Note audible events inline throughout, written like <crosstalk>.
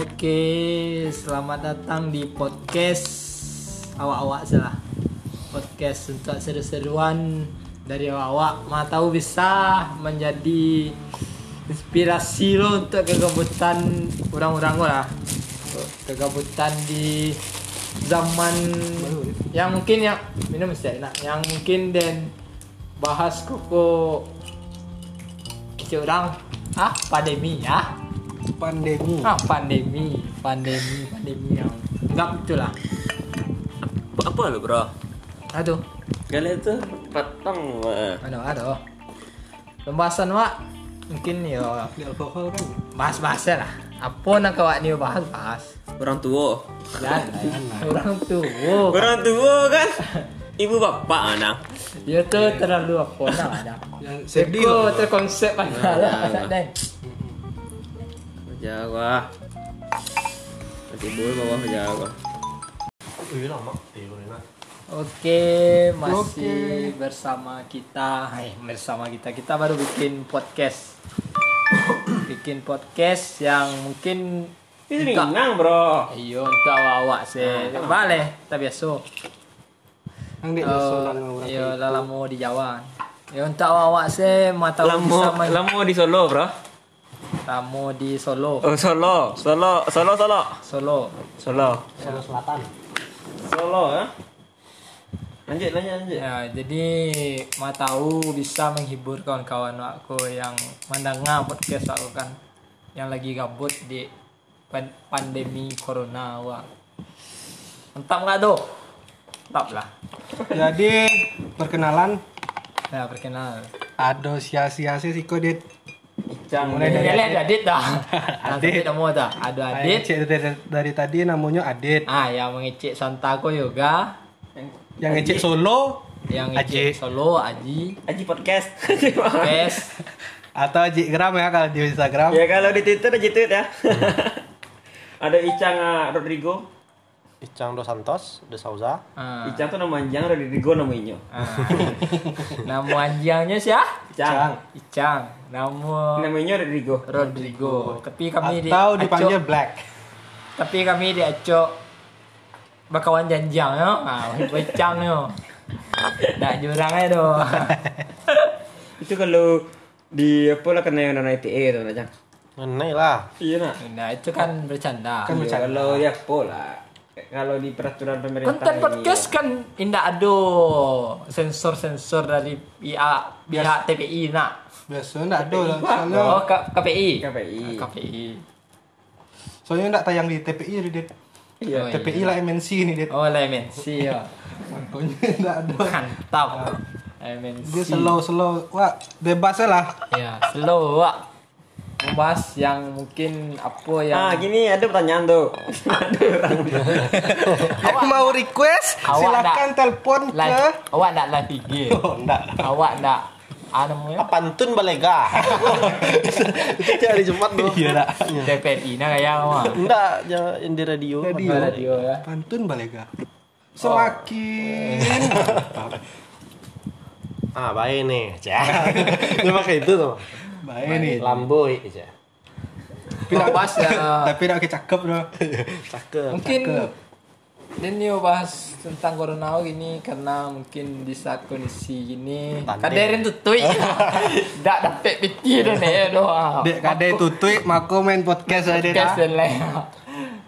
Oke, selamat datang di podcast awak-awak salah. Podcast untuk seru-seruan dari awak-awak. Mana tahu bisa menjadi inspirasi lo untuk kegabutan orang-orang lo lah. Untuk Kegabutan di zaman yang mungkin ya minum sih enak. Yang mungkin dan bahas koko kecil orang ah pandemi ya pandemi ah pandemi pandemi pandemi yang lah. enggak itulah apa lo bro aduh kalian tuh Kan patang eh. wah. aduh aduh pembahasan wak mungkin ya di alkohol kan bahas bahasnya lah apa nak kawak ni bahas bahas orang tua dan orang tu oh, wow orang tua kan <laughs> ibu bapak anak dia tu terlalu apa nak ada yang Seko sedih loh terkonsep pada lah Nah, tak nah. ada. jawa nanti boy bawah jawa Iya, Okey, masih bersama kita. Hai, bersama kita. Kita baru bikin podcast. bikin podcast yang mungkin ini ringan bro Iyo untuk awak-awak se balik tak biasa. yang di dosa Eh, lah orang Iyo lah lama di Ya, Jawa. Iyo untuk awak-awak se mata lamo bisa main- lamo di Solo bro lamo di Solo. oh Solo Solo Solo Solo Solo. Ya. Solo Solo Selatan Solo ya lanjut lanjut lanjut Ya, jadi mau tahu bisa menghibur kawan-kawan aku yang mendengar podcast aku kan yang lagi gabut di pan- pandemi corona wak. Mantap nggak do? Mantap lah. jadi perkenalan Ya perkenal. ada sia-sia sih kok dit Icang Mulai dari Lihat Adit <laughs> dah. Adit. Adit nama dah. Ada Adit. Cek dari, dari tadi namanya Adit Ah, yang mengecek Santako Yoga, yang ngecek Solo yang ngecek Aji. Solo Aji, Aji <laughs> podcast Pes, atau Aji Gram ya kalau di Instagram ya kalau di Twitter Aji tweet ya <laughs> ada Icang ah, Rodrigo Icang dos Santos, de Souza. ah, Icang tuh nama anjang Rodrigo nama Inyo ah. Nama anjangnya siapa? Icang Icang. Nama namanya Rodrigo Rodrigo. Tapi kami atau di dipanggil Acok- Black tapi kami di Acok bakawan janjang yo. Ah, becang yo. Nak jurang aja doh. itu kalau di apa lah kena nona ITE tuh aja Ini lah. iya nak Nah, itu kan bercanda. kan kalau dia apa lah kalau di peraturan pemerintah Konten ini, ya. podcast kan indah ada sensor-sensor dari pihak pihak TPI nak. biasanya enggak ada lah soalnya Oh, K- KPI. KPI. KPI. soalnya enggak tayang di TPI jadi dit Iya. Oh, TPI lah MNC ini dit Oh, MNC ya. <laughs> makanya enggak ada Mantap. MNC. dia slow slow wah bebas aja lah Ya, slow Wak. Membahas yang mungkin apa yang ah <laughs> gini ada pertanyaan tuh Yang mau request Awak silakan nak- telepon ke live. Awak nak live IG. <laughs> oh enggak Awak nak anu ya. Pantun balega. <laughs> Itu tiap hari Jumat tuh. iya nak Ya. TPRI nah kayak awak. Enggak, ya, yang di radio. Radio. Radio ya. pantun balega semakin Ah, baik nih. <laughs> Cah. Cuma kayak itu tuh. baik nih Lamboy aja. nak- <laughs> Bahas ya. <laughs> tapi nak cakep doh Cakep. Mungkin Cakep. dan yo bahas tentang corona gini karena mungkin di saat kondisi gini Tanding. kaderin tutui dak dapat piti dah nih eh, doa. dek kada itu tweet mako main podcast aja dek Kes dan lain.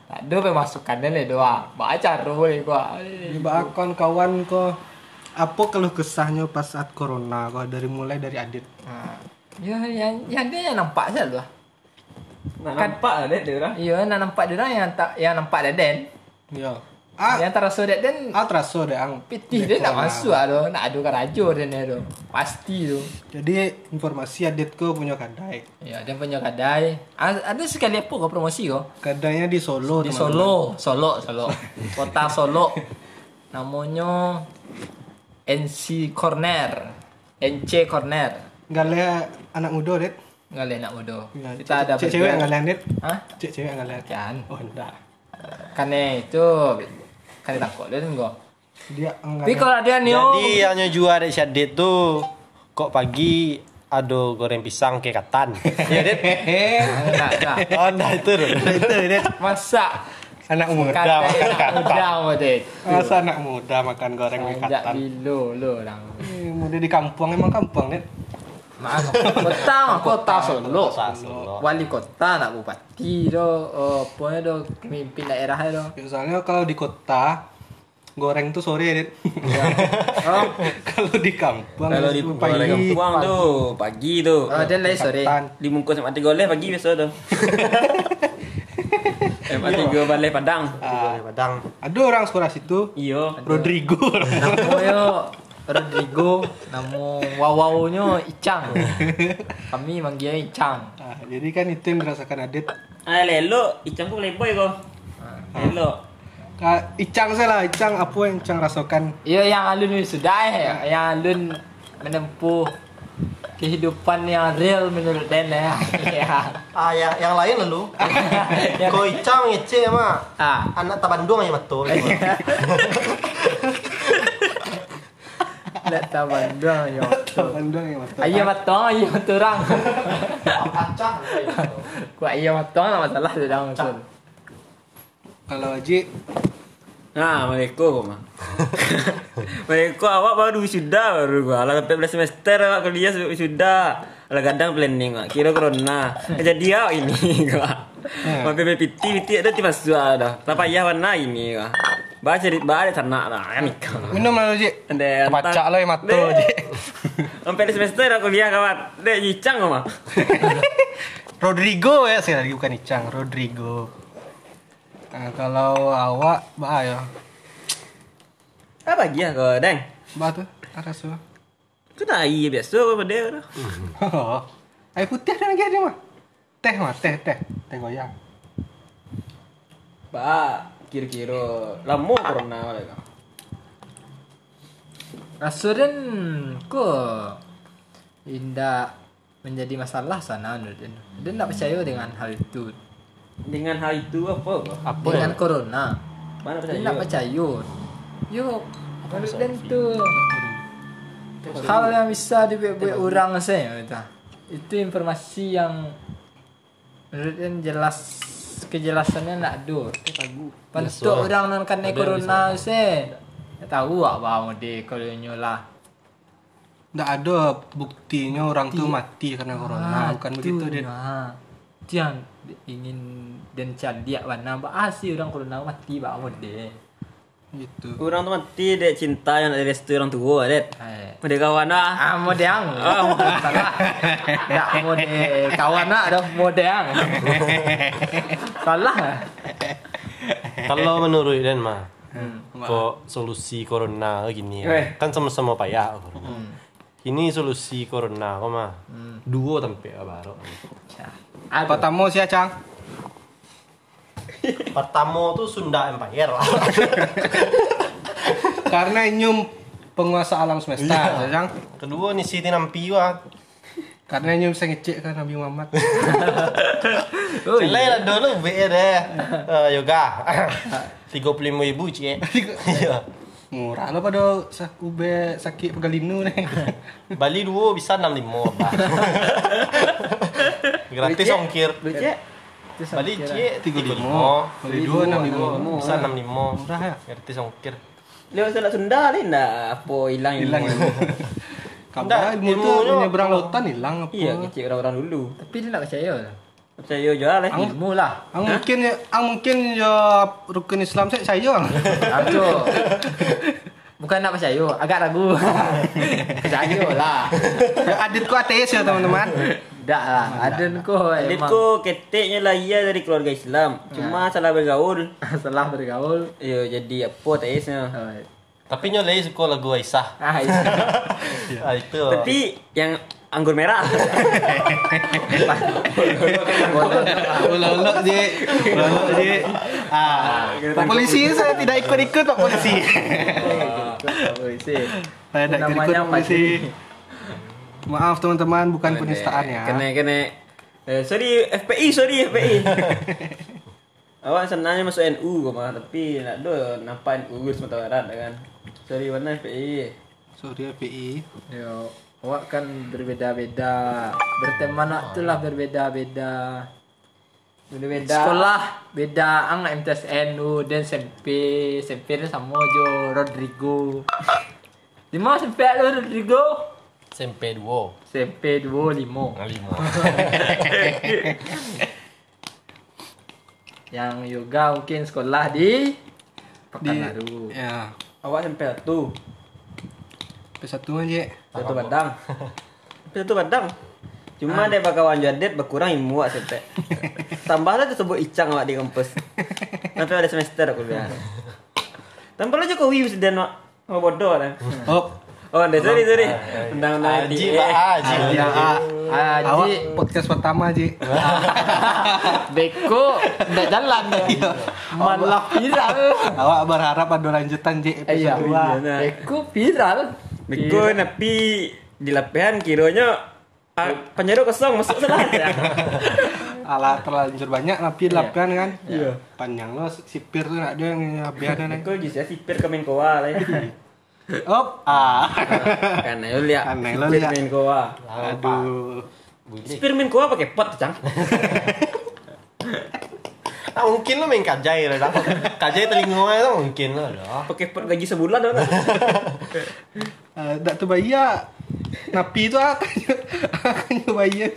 Tak ada pemasukan dan lain doa. Baca roi gua. bakon kawan ko apa keluh kesahnya pas saat corona kok dari mulai dari adit Ha. Ya, yang yang dia yang nampak je lah. nah, nampak ada dia orang Ya, yang nampak dia orang yang tak yang nampak Deden. yo ah Yang terasa Deden ah terasa dek ang Ya. piti dek dia nak corona. masuk lah tu. Nak adukan raja dia ni tu. Pasti tu. jadi informasi adit ko punya kadai Ya, dia punya kedai. A- Ada sekali apa kau promosi kau? kadainya di Solo Di Solo, teman-teman. Solo, Solo. Kota Solo. Namanya NC Corner. NC Corner. Gale anak muda, Dit. Ngalih nak bodoh. Ya, Kita ada cek cewek burger. enggak lihat, Dit. Hah? Cek cewek enggak lihat. Kan. Oh, enggak. Kane itu kane takut dia tengok. Dia enggak. Tapi kalau ada ni Jadi yang nyejua dek Syadid tuh kok pagi ado goreng pisang ke <laughs> katan. ya, Iya, Det. Eh, Enggak, enggak. Oh, nah itu. Dut. itu <laughs> ini Masa anak muda kata makan enak kata. muda modit. masa anak muda makan goreng Enggak mekatan bilo lo orang. Eh, muda di kampung emang kampung nih Maaf, kota mah kota Solo. Kota Solo. Wali kota nak bupati do, eh, apa ni do, pemimpin daerah do. Ya, soalnya kalau di kota goreng tuh sore Dit. <laughs> Oh, kalau di kampung Kalau di itu kalau di kampung tu pagi tu. oh, dan lain sore. Ketan. Dibungkus sama tiga oleh pagi biasa tu. Sama tiga balai padang. Goreng Padang. ada orang sekolah situ Iyo. Rodrigo Namo yo Rodrigo, namo wawawonyo Icang. Kami manggilnya Icang. Ah, jadi kan itu yang dirasakan Adit Ah lelo, icang ku playboy ko. Lelo. Ah, Icang saya lah Icang apa yang Icang rasakan Iya yang alun ni sudah eh, yang alun menempuh kehidupan yang real menurut Den <laughs> ya. Ya. Ah, yang yang lain lalu. <laughs> Koi cang ngece mah. Ah, Anak ta Bandung aja betul. lek taban doang yo. Taman doang yang ya, betul. Ayo matang, ayo turang. Acang. Ku ayo matang lah masalah sudah muncul. kalau Aji Nah, Maleko <laughs> mah. Maleko awak baru sudah baru gua. Lah sampai belas semester awak kuliah sudah. Lah kadang planning awak kira corona. Eh, Jadi awak ini <laughs> gua. Eh. Sampai PPT PPT ada tiba sudah dah. Tak payah warna ini gua. Baca di baca sana lah. Ya nikah. minum lah Aji Ande Pacak lah yang mata, Ji. <laughs> Sampai belas semester aku kuliah kawan. Dek nyicang kau mah. Rodrigo ya sekali lagi bukan Icang Rodrigo nah, kalau awak bah ya Apa dia kau, Deng? bah tuh atas tuh <laughs> Kau tak iya biasa apa dia tu. Hmm. air putih ada lagi ada mah teh mah teh teh teh goyang Ba, kira-kira lama corona mereka. Asurin ku indah menjadi masalah sana menurut Den. Den tak percaya dengan hal itu. Dengan hal itu apa kau? Apa dengan corona? Mana percaya? Den tak percaya. Yo, menurut Den tu hal yang bisa dibuat orang lah, saya kata. Itu informasi yang menurut Den jelas kejelasannya nak do. Ya, Pantuk orang non kena corona se. Tak tahu apa mau dia kalau nyolah. nggak ada buktinya orang tuh mati Ah, karena corona Nah, bukan begitu dia Ah, Den Tiang ingin dan candia warna bahas sih ah, orang corona mati bah mode. gitu Orang tu mati dek cinta yang nak restu orang tua dek. Eh. Pada kawan lah. Ah modeang. <laughs> Ah salah. Tak mode kawan nak dah modeang. Salah. <laughs> Kalau menurut Den mah, Hmm. kok solusi corona gini Eh. ya. Kan sama-sama payah corona. Hmm. Ini solusi corona kok mah. Duo tempe baru. Apa tak pertama sih Acang Pertama tuh Sunda Empire lah. karena nyum penguasa alam semesta ya, Iya. Acang Kedua nih Siti Nampiwa. karena nyum saya ngecek kan Nabi Muhammad Oh, iya. Selain lah dulu BR deh. E Eh, yoga. <laughs> 35 ribu cie. Iya. murah lo pada sak- ube sakit pegalinu nih Bali duo bisa 65 apa. Gratis ongkir. Becek. Bali 35. cie 35. Bali duo 65. Bisa 65. eh. Murah ya? Gratis ongkir. Lewat salah Sunda ni nak apa hilang hilang ilmu. <laughs> ilmu Nggak, kabar ilmu tuh ilmunya menyeberang lautan hilang apa Iya, kecil orang-orang dulu. tapi dia nak percaya lah. Percaya je lah. Ang- Ilmu lah. Ang mungkin ya, ang mungkin ya rukun Islam saya saya. ang. Aku Bukan nak percaya, agak ragu. Percaya lah. Ya <laughs> adit ku ateis ya teman-teman. Dak lah, aden ko Adik emang. ku keteknya lah ia dari keluarga Islam. Cuma salah bergaul. Setelah bergaul Ya, jadi apa tak esnya. eh, Tapi nyolai suka lagu <laughs> Aisyah. Ah, itu. Ah, itu. Tapi yang anggur merah. Ulolo je. Ulolo je. Ah, Pak polisi saya tidak ikut-ikut Pak polisi. Saya tidak ikut-ikut Namanya Pak polisi. Maaf teman-teman bukan penistaan ya. Kena kena. Eh, sorry FPI, sorry <laughs> FPI. Awak sebenarnya masuk NU ke mah, tapi nak do ya, nampak NU Sumatera Barat dah kan. Sorry warna FPI. Sorry FPI. Yo, awak kan berbeda-beda berteman awak tu lah berbeda-beda Beda-beda. sekolah beda ang lah MTSN u dan SMP SMP ni sama jo Rodrigo <laughs> lima SMP tu Rodrigo SMP 2 SMP dua lima lima yang yoga mungkin sekolah di Pekanbaru ya Awak sampai tu. pesatu aja Satu badang. Satu badang. Cuma dia kawan jadet berkurang ilmu awak sampai. Tambahlah tu sebut icang awak di kampus. Sampai ada semester aku bilang. Tambahlah Jokowi presiden awak. Awak bodoh lah. oh Oh, ada sorry sorry. Undang-undang Haji IDE. Pak Haji yang eh. ah awak Haji podcast pertama aja <laughs> Beko Nggak jalan Malah viral awak berharap ada lanjutan je episode Iya dua. Nah. Beko viral Beko Iya. tapi di lapihan kiranya ah, penjara kosong masuk Ya. salah. ala terlanjur banyak tapi lapian kan Iya. panjang lo sipir tuh nak ada yang biar ada naik Beko jadi sipir ke Menkoa lah. op ah Karena lu Kan, lihat. Karena lu Sipir lihat. Menkoa. aduh Sipir Menkoa pakai pot cang. Ah, mungkin lo main kajai lah. dah. Kajai telinga itu mungkin lah. ya. dah. pakai per gaji sebulan dong. Eh, dak tu bayar napi ah, kan tu akan <laughs> akan bayar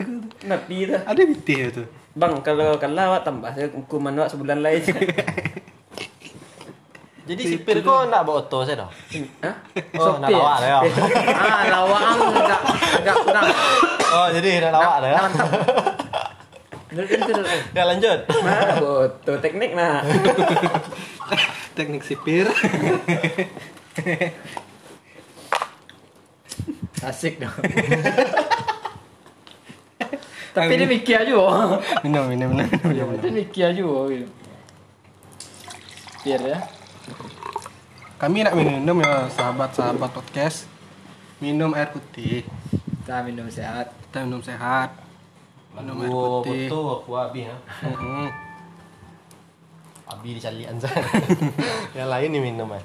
Nabi dah. ada ya bitih tu Bang, kalau kalah awak tambah saya hukuman awak sebulan lain. <laughs> Jadi sipir kok nak bawa oto saya <laughs> dah. Hah? Oh, nak lawak dah. ya. <laughs> Ah lawak ang Nggak Nggak kurang Oh, jadi nak lawak dah. ya. Menurut itu Ya lanjut. Nah, tu teknik nah. teknik sipir Asik dong Tapi ini mikir aja oh. minum minum minum minum, minum. Itu mikir aja oh, gitu. Biar ya kami nak minum ya sahabat-sahabat podcast minum air putih Kita minum sehat kita minum sehat minum air Gua putih betul aku abi ya. Mm-mm. Abi dicalian <laughs> sana. Yang lain ni minum ah.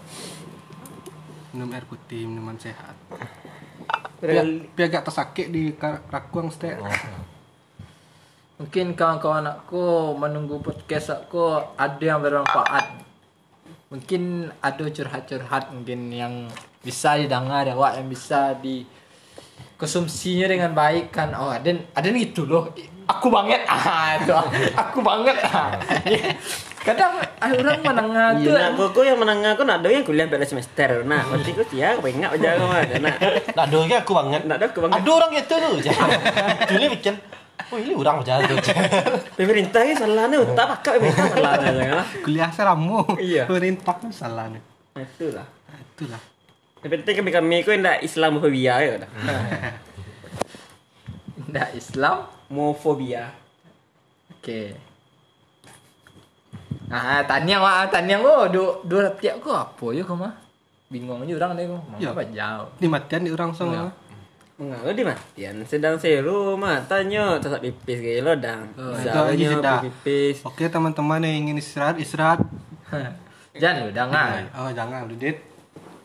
minum air putih minuman sehat Padahal- Pi agak tersakit di Kar- Rakuang stek. Mungkin kawan-kawan aku menunggu podcast aku ada yang bermanfaat. Mungkin ada curhat-curhat mungkin yang bisa didengar ya, Wak, yang bisa di konsumsinya dengan baik kan. Oh, ada ada gitu loh. Aku banget <laughs> ah itu. Aku banget ah. <laughs> Kadang ah, orang menengah Iya, tuh. nak aku yang menang aku nak ada yang kuliah pada semester. Nah, nanti aku dia aku ingat aja aku mah. Nah, Nak doh ke aku banget. nak ada aku bang. Ada orang itu tu. Juli bikin. Oh, ini orang macam tu. Pemerintah ini salah nih, tak pakai pemerintah salah nih jangan. Kuliah saya ramu. <laughs> Iya. Perintah kan salah nih. Itulah. Itulah. Tapi lah. penting kami kami kau ndak Islamofobia ya dah. Nggak kan, Islam. Mofobia. Oke. Nah, tanya Wak, tanya oh, dua dua tiap kok apa ya kok mah? Bingung aja orang deh kok. Mau Ya. apa jauh. <laughs> Di matian di orang semua. Mengalu di matian sedang seru matanya tetap pipis gaya lo dang. Oh, Nah, itu aja Misalnya sudah. pipis. Oke teman-teman yang ingin istirahat istirahat. Jangan udah nggak. Oh jangan lu dit.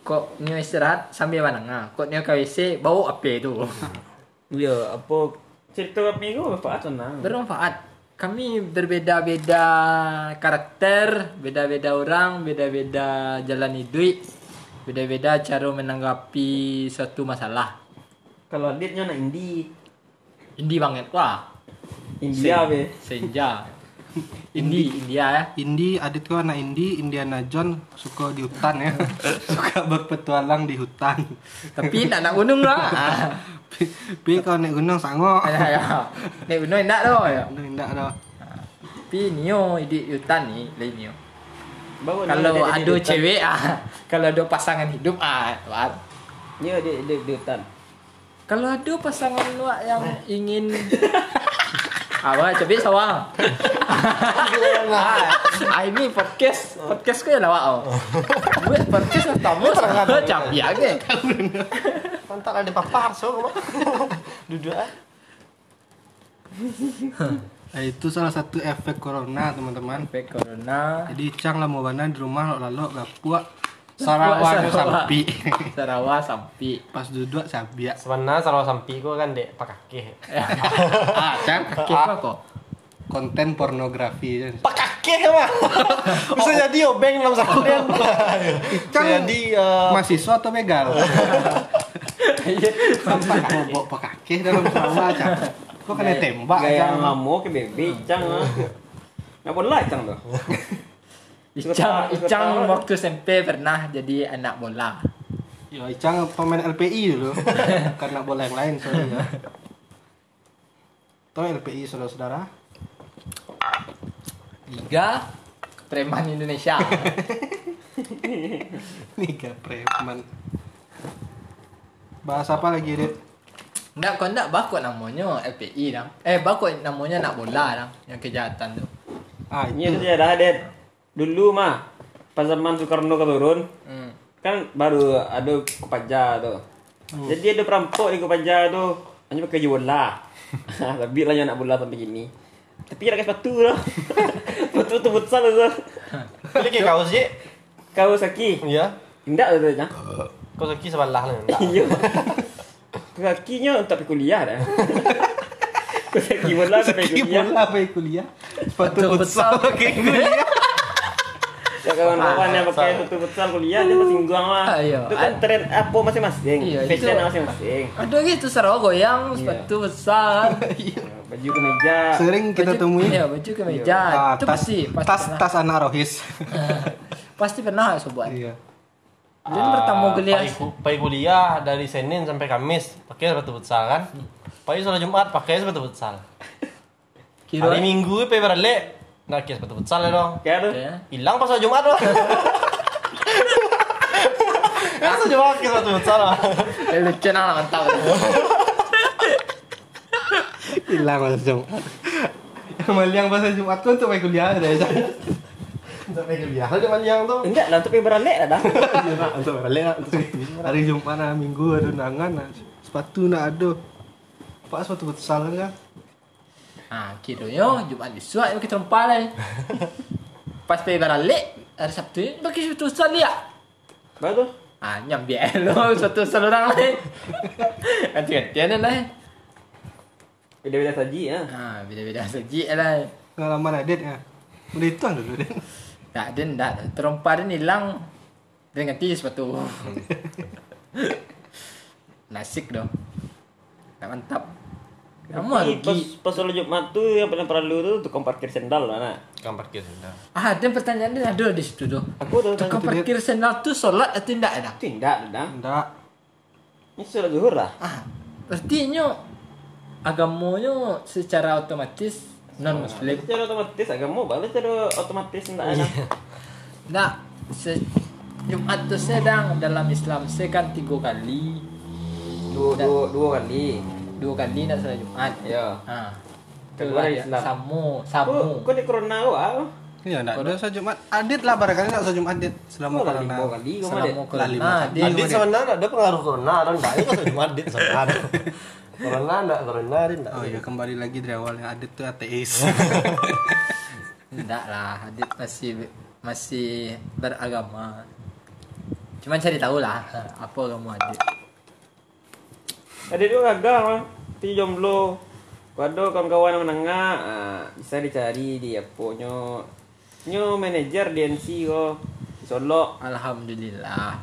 Kok nyo istirahat sambil ah. menengah. Kok nyo KWC bau apa itu? Ya, apa cerita apa itu manfaat senang. Bermanfaat. Kami berbeda-beda karakter, beda-beda orang, beda-beda jalan hidup, beda-beda cara menanggapi suatu masalah. Kalau aditnya nak indie, Indi banget wah. India Sen- be. Senja. Indi, India ya. Indi Adit tuh anak Indi Indiana John suka di hutan ya. <laughs> suka berpetualang di hutan. <laughs> Tapi nak nak gunung lah. Pi- Pi kalau naik gunung <laughs> sango. Ayah ayah. Nek gunung nak doh. Aduh, Indah ada. Tapi nio di hutan ni lain nio. Bawa Kalau ada cewek ah, <laughs> kalau ada pasangan hidup ah. Wak. Ya, dia dia di hutan. Kalau ada pasangan wak yang ingin Apa cewek sawang. Ah ini podcast podcast ke lah wak. oh. Buat podcast pertama sangat canggih ke. Pantat ada papar so kau. Duduk ah. Nah, itu salah satu efek corona teman-teman. Sampai corona Jadi cang lama mana di rumah lalu lalu gak puak Sarawak Sarawak. ke sampi. Sarawak sampi. <laughs> Pas duduk sabi ya. Sebenarnya sarawak sampi kok kan dek pakake. Ah, cak Oke, kok kok. konten pornografi. Eh, Cak. Pakake mah. Bisa jadi obeng dalam sampean. Kan Jadi eh, mahasiswa atau <laughs> begal? Sampai bobok pakake dalam sarawak cak. Kok kena tembak Gaya cak. ngamuk ke bebe cang. ah. Ngapa lah cang tuh? Icang, Icang waktu SMP pernah jadi anak bola. Ya Icang pemain LPI <laughs> dulu karena bola yang lain soalnya. Tahu LPI saudara-saudara? <laughs> Liga preman <laughs> Indonesia. Liga preman. Bahas apa lagi, Dit? Ndak kau ndak bakut namanya LPI dang. Eh bakut namanya anak bola dang yang kejahatan tuh. Ah, Ini itu. saja Iya, dah det. Dulu mah pas zaman Soekarno keturun Hmm. kan baru ada Kopaja tuh. Jadi ada perampok di Kopaja tuh. Hanya pakai baju bola. <laughs> Tapi lah anak bola sampai gini. Tapi dia pakai sepatu tuh. <laughs> Sepatu tu futsal tu. pilih ke kaos je. Kau saki. Ya. Indah tu tu. Kau saki sebelah lah. enggak? Iya. Kakinya tak pergi kuliah dah. <laughs> Kau saki bola tak pergi Kaki kuliah. bola apa yang kuliah? Sepatu Sepatu futsal <laughs> futsal. pakai kuliah. Ya kawan-kawan yang pakai sepatu futsal kuliah dia masih guang lah. Ayo. Itu kan tren apa masing-masing. Ah, Iya, itu. Fashion masing-masing. Ada gitu Sarawak goyang sepatu besar. Ah, Baju kemeja. Sering <laughs> kita Baju- temui. Iya, baju kemeja. Ah, Itu tas, pasti pasti tas, pernah. tas anak <laughs> rohis. <laughs> Pasti pernah lah harus buat. Iya. Ah, Jadi Ah, bertemu kuliah. Pai kuliah dari Senin sampai Kamis pakai sepatu futsal kan. Pai sholat Jumat pakai sepatu futsal. Kira Hari Minggu pai beralek. Nah, kira sepatu futsal ya dong. Kayak tu. Ya. Hilang pas sholat Jumat <laughs> loh. Kan sholat Jumat pakai sepatu futsal. lah. Eh, lucu nah mantap. <laughs> Hilang bahasa Jumat. Yang meliang bahasa Jumat tuh untuk pakai kuliah ada ya. Untuk pakai kuliah ada meliang tuh. Enggak lah, tapi beralek lah dah. <laughs> Iya, Untuk balik nak untuk hari Jumat nah, Minggu ada nangan nah. sepatu nak ada. Pak sepatu futsal kan. Ah, kira yo Jumat esok kita jumpa lah. <laughs> Pas pergi balik hari Sabtu ni pakai sepatu besar dia. Baru tu. Ah, nyambi <laughs> lo sepatu besar orang lain. Nanti ketian lah. Beda-beda saji ya. Ah, beda-beda saji lah. Pengalaman Adit ya. Udah itu dulu deh. Tak ada ndak terompa dia hilang. Dia ganti sepatu. <laughs> Nasik doh. Tak mantap. Kamu Tapi Pas, rugi. pas solat Jumat tu yang paling perlu tu tukang parkir sendal lah nak. Tukang parkir sudah. Ah, ada pertanyaan dia ada di situ doh. Aku tu Tukang dia. parkir sendal tu solat atau tidak dah? tindak lah, dah. Enggak. Ini solat zuhur lah. Ah, artinya agamanya secara otomatis non muslim. Secara otomatis agama balik secara otomatis tidak ada. Nah, se Jumat tu sedang dalam Islam saya kan tiga kali, Dua dua dua kali. dua kali nak salat Jumat. Ya. Ah, itulah Kedua ya. Islam. Samu, Aku samu. kau di corona kau ah. Iya, enggak ada saya Jumat. Adit lah barangkali enggak saya Jumat Adit selama Kau lah corona. lima kali kau mah. Salamu Lali kelana. makan. Ah, Dia Adit sebenarnya ada pengaruh corona atau enggak? Ini kan cuma Adit sebenarnya. Corona enggak, corona Adit enggak. Oh iya, kembali lagi dari awal ya. Adit tuh ateis. <laughs> tidak lah, Adit masih masih beragama. Cuman cari tahu lah apa agama Adit. Ada dua gagal mah. Ti jomblo. Kau ada kawan-kawan yang menengah ah, bisa dicari di apa nyo nyo manajer DNC kau. Di Solo. Alhamdulillah.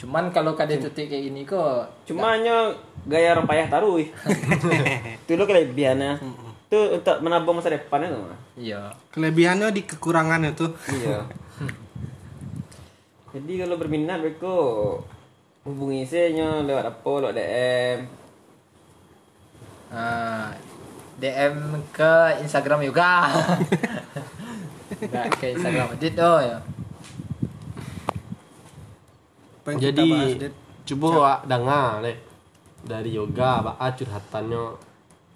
Cuman kalau kada titik kayak gini kok Cuma hanya gaya orang payah taruh. ih. Itu lo kelebihannya. Itu untuk menabung masa depannya tuh. Mas. Iya. Kelebihannya di kekurangannya tuh. Iya. Jadi kalau berminat beko hubungi saya nyo lewat apa lewat DM. Ah, DM ke Instagram juga. Enggak ke Instagram Adit oh ya. Apa yang kita Jadi bahas, Dit? coba awak dengar le dari yoga ba curhatannya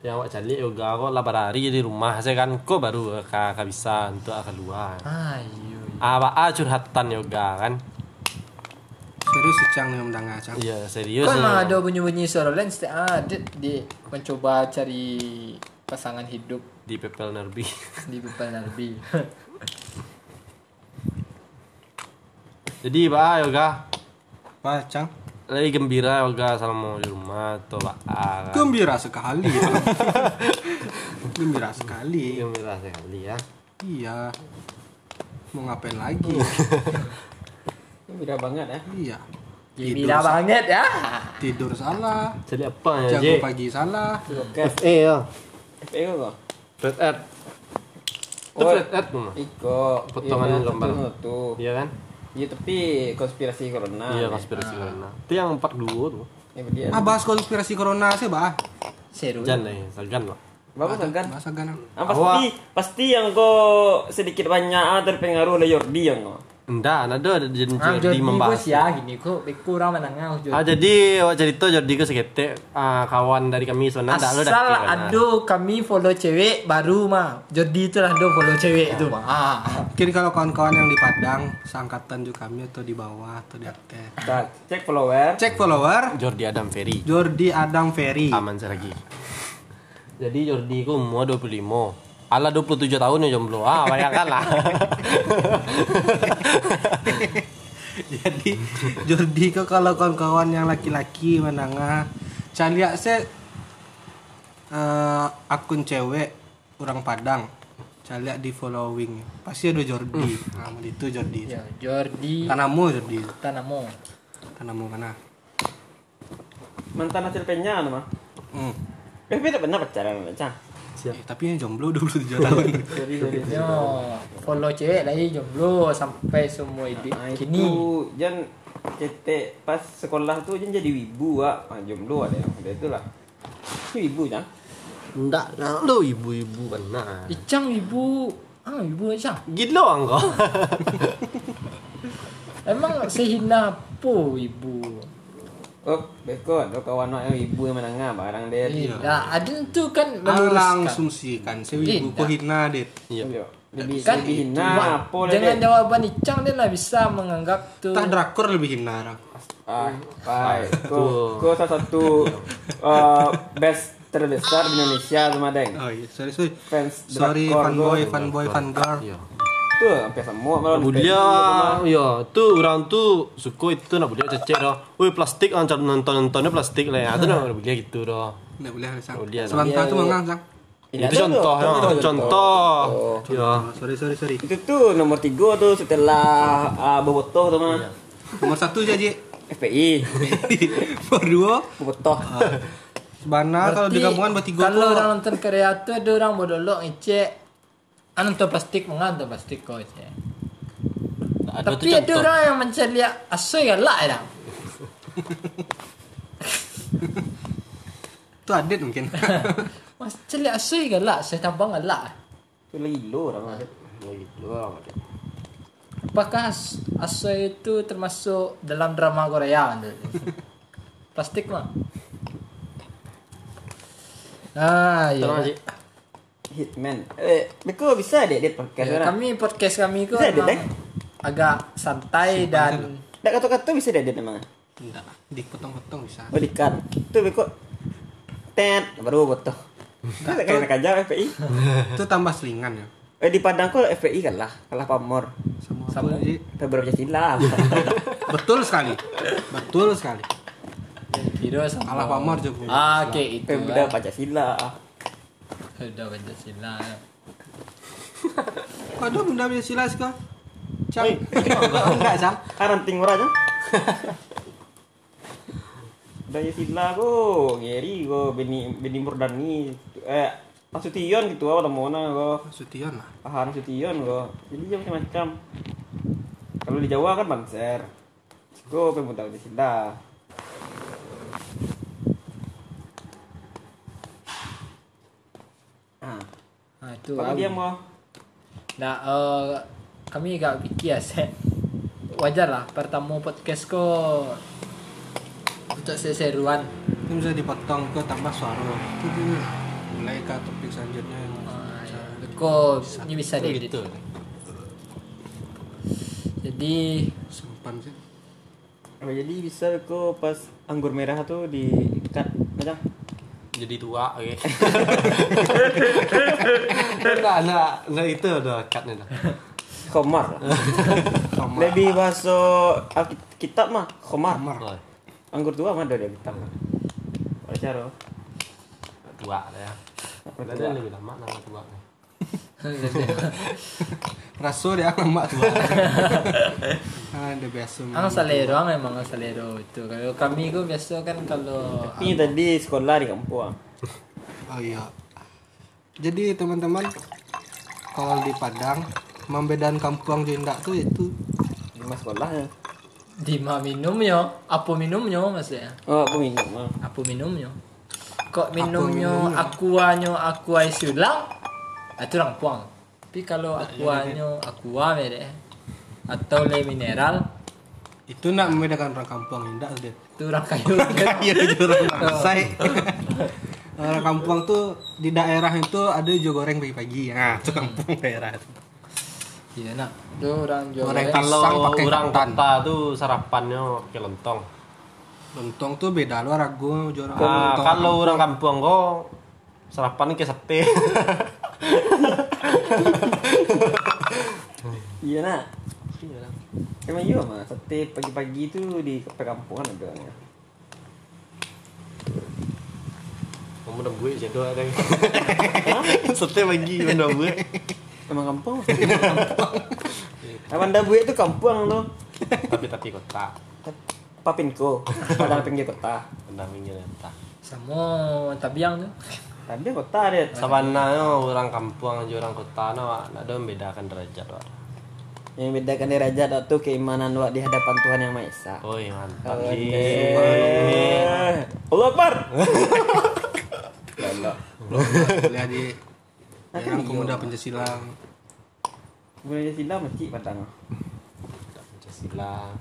yang awak cari yoga kok labar hari di rumah saya kan kok baru kak bisa untuk ah, keluar. Ayo. Ah ba curhatan yoga kan. serius si Cang yang mendengar Cang. Iya serius. Kok Kan emang ya. ada bunyi-bunyi suara lain setiap ah, Adit di mencoba cari pasangan hidup di Pepel Nerbi. <laughs> di Bupal Narbi. Jadi ba yoga Macang. lagi gembira yoga selama di rumah atau ba kan? Gembira sekali. <laughs> Gembira sekali. gembira sekali ya. Iya. Mau ngapain lagi? Beda banget ya. Iya. Gila banget ya. Tidur salah. Jadi apa ya? Jago pagi salah. Oke. FA ya. FA kok kok. Flat earth. Itu Oh. flat earth mah. Iko. Potongan iya, lembar. satu satu. Iya kan? Iya tapi konspirasi Ah, corona. Iya nih. konspirasi corona. Itu yang part dua tuh. Ini dia. Ah bahas konspirasi corona sih, Bah. Seru. Jan eh, nih, sagan lah. Bagus kan? Bahasa kan. Ah, pasti pasti yang kau sedikit banyak ah, terpengaruh oleh Jordi yang kau. Enggak, ada ada Jordi, Ah, Jordi membahas. bos ya gini kok kurang menengah Jordi. Ah jadi awak cerita Jordi ke seketek ah, kawan dari kami sebenarnya dak lu dah Asal kira, nah. aduh kami follow cewek baru mah. Jordi itu lah do follow cewek itu mah. Ah. Mungkin kalau kawan-kawan yang di Padang, seangkatan juga kami atau di bawah atau di atas. Tak, cek follower. Cek follower Jordi Adam Ferry. Jordi Adam Ferry. Aman saya lagi. Jadi Jordi ku umur 25. Ala 27 tahun ya jomblo. Ah, bayangkan <laughs> lah. Jadi Jordi ke kalau kawan-kawan yang laki-laki menengah, caliak saya eh, akun cewek orang Padang. Caliak di following. Pasti ada Jordi. Hmm. Nah, itu Jordi. Ya, Jordi Tanamu Jordi. Tanamo. Tanamu mana? Mantan hasil penyanyi mah. Hmm. Eh, tapi tak pernah pacaran macam. Eh, tapi yang jomblo 27 <laughs> tahun. Jadi jadi. Yo, follow cewek lagi jomblo sampai semua hidup Nah, kini. Ah, itu Jan cetek pas sekolah tu Jan jadi wibu ah. Ah, jomblo ada yang ada itulah. Itu wibu Jan. Enggak, nah, lu ibu-ibu kan. Nah. Icang ibu Ah, ibu Icang. Gila engkau. Emang sehina apa ibu? Oh, beko ada kawan nak yang wibu yang menengah barang dia. Iya. Nah, Eh, ada tu kan Aku meluruskan. langsung sih kan. Saya ibu Tidak. kok hina, Dit. Iya. Lebih Kan lebih hina Wah, apa lah Jangan dia. jawaban Icang dia lah bisa menganggap tu. Iya. Tah drakor lebih hina. Ram. Ah, baik. Kau kau salah satu eh, best terbesar di Indonesia sama Deng. Oh iya, sorry sorry. Fans Sorry drakor fanboy, tu. fanboy, fangirl. Iya. Tu hampir semua malah Bulia, ya, tu orang tu suka itu nak bulia cecek dah. Woi plastik ancar nonton nontonnya plastik lah. Itu nak bulia gitu dah. Nggak boleh sang. Oh, dia- Sebangsa dia- tuh mengang sang. Ini Itu ada contoh, tu, ya, tu contoh. Oh. Ya. Oh, sorry sorry sorry. Itu tuh nomor tiga tuh setelah uh, Bobotoh tuh Iya. mah. Nomor satu jadi FPI. <laughs> nomor dua. Bobotoh. Sebana Ah, kalau di kampungan bertiga Kalau kok. orang nonton karya tu ada orang bodolok ngecek. Anu tu Ah, plastik mengantuk plastik kau je. Nah, ada tu Tapi ada contoh. orang yang macam dia asal galak eh, dah. Itu adit mungkin. <laughs> Macam dia asal galak, saya tambah galak. eh. Itu lagi lo orang. Lagi dua orang. Apakah as- asal itu termasuk dalam drama Korea? <laughs> tu? plastik mah. Ah, Tolong ya. Cik. Hitman. Eh, Beko bisa deh dia Iya, podcast Ya, kan. orang. kami podcast kami kok Bisa ada, kan? memang Dek? agak santai dan Tak kata-kata bisa deh dia memang. Enggak, dipotong-potong bisa. Oh dikat. Itu Beko. Tet baru Bobotoh. Nah, Kan kena kajar FPI. Itu tambah selingan ya. Eh di Padang kok FPI kalah, kan kalah Pamor. Sama Sama. aku jadi Februari Pancasila. betul sekali. Betul sekali. kira sama. Kalah pamor juga. Ah, okey itu. Lah. Pemda Pancasila. Udah Pancasila. Kok ada bunda Pancasila sih kok? Cang. <laughs> Oh, Enggak, Cang. Karanting murah aja. Pancasila ko, Geri ko, Beni Beni Murdani. Eh, Nasution gitu apa temona ko. Sution lah. Pahan Nasution ko. Jadi dia macam-macam. Kalau di Jawa kan Banser. Ko Pemuda Pancasila. Ah, Ah, itu. kalau ah. dia mau Nah, eh, kami agak fikir set. Wajar lah pertama podcast ko untuk seseruan. Itu bisa dipotong ke tambah suara. Itu dia. Mulai ke topik selanjutnya yang Ko ini bisa Itu diedit. gitu. Jadi iya. sempan sih. Oh, jadi bisa kok pas anggur merah tuh di ikat macam Jadi tua, <laughs> oke. Enggak, enggak, enggak itu udah cutnya dah. <laughs> Komar. Lebih bahasa Alkit- kitab mah Komar. Wah, Anggur tua mah dari kitab. Wajar. tua dah ya Padahal dia lebih lama nama tua Rasul <laughs> dia nama ya, tua. ah, dia biasa. Ang salero ang emang ang salero itu. Kalau kami kok biasa kan kalau Ini tadi sekolah di kampung. ah. Oh iya. Jadi teman-teman kalau di Padang membedakan kampung jendak tuh itu Di sekolah ya. di ma minum yo, apo minum yo maksudnya. Oh, aku minum. ah. Apo minum yo. Kok minum yo aqua nyo aqua isulang. Itu orang puang. Tapi kalau aqua nyo aqua mere atau le mineral itu nak membedakan orang kampung jendak tuh dia. itu orang kayu. <laughs> <laughs> kan. Iya <laughs> jurang bangsai. Orang kampung tuh di daerah itu ada jual goreng pagi-pagi. Nah, itu kampung daerah. itu. Iya nak. Itu orang Orang Jawa. Pisang kalau pakai orang santan. tata tuh sarapannya pakai lontong Lontong tuh beda lu ragu jorang. Ah, lontong. kalau orang kampung kok sarapan kayak sate Iya nak. Emang iya mah sate pagi-pagi itu di perkampungan ada ya? orangnya. <laughs> kamu udah gue jadi <laughs> ada sate pagi udah gue <laughs> Emang kampung. Emang dah buat itu kampung lo. tapi tapi kota Papinko, <laughs> padang pinggir kota. tentang pinggir kota Sama tabiang tu. Tapi kota dia. sabana no, orang kampung aja orang kota no ada membedakan derajat wak. Yang bedakan derajat itu keimanan wak di hadapan Tuhan yang Maha Esa. oi mantap Iya, Eh, Allah Akbar. kuliah di daerah pemuda Pancasila. Boleh sila macik padang. Pancasila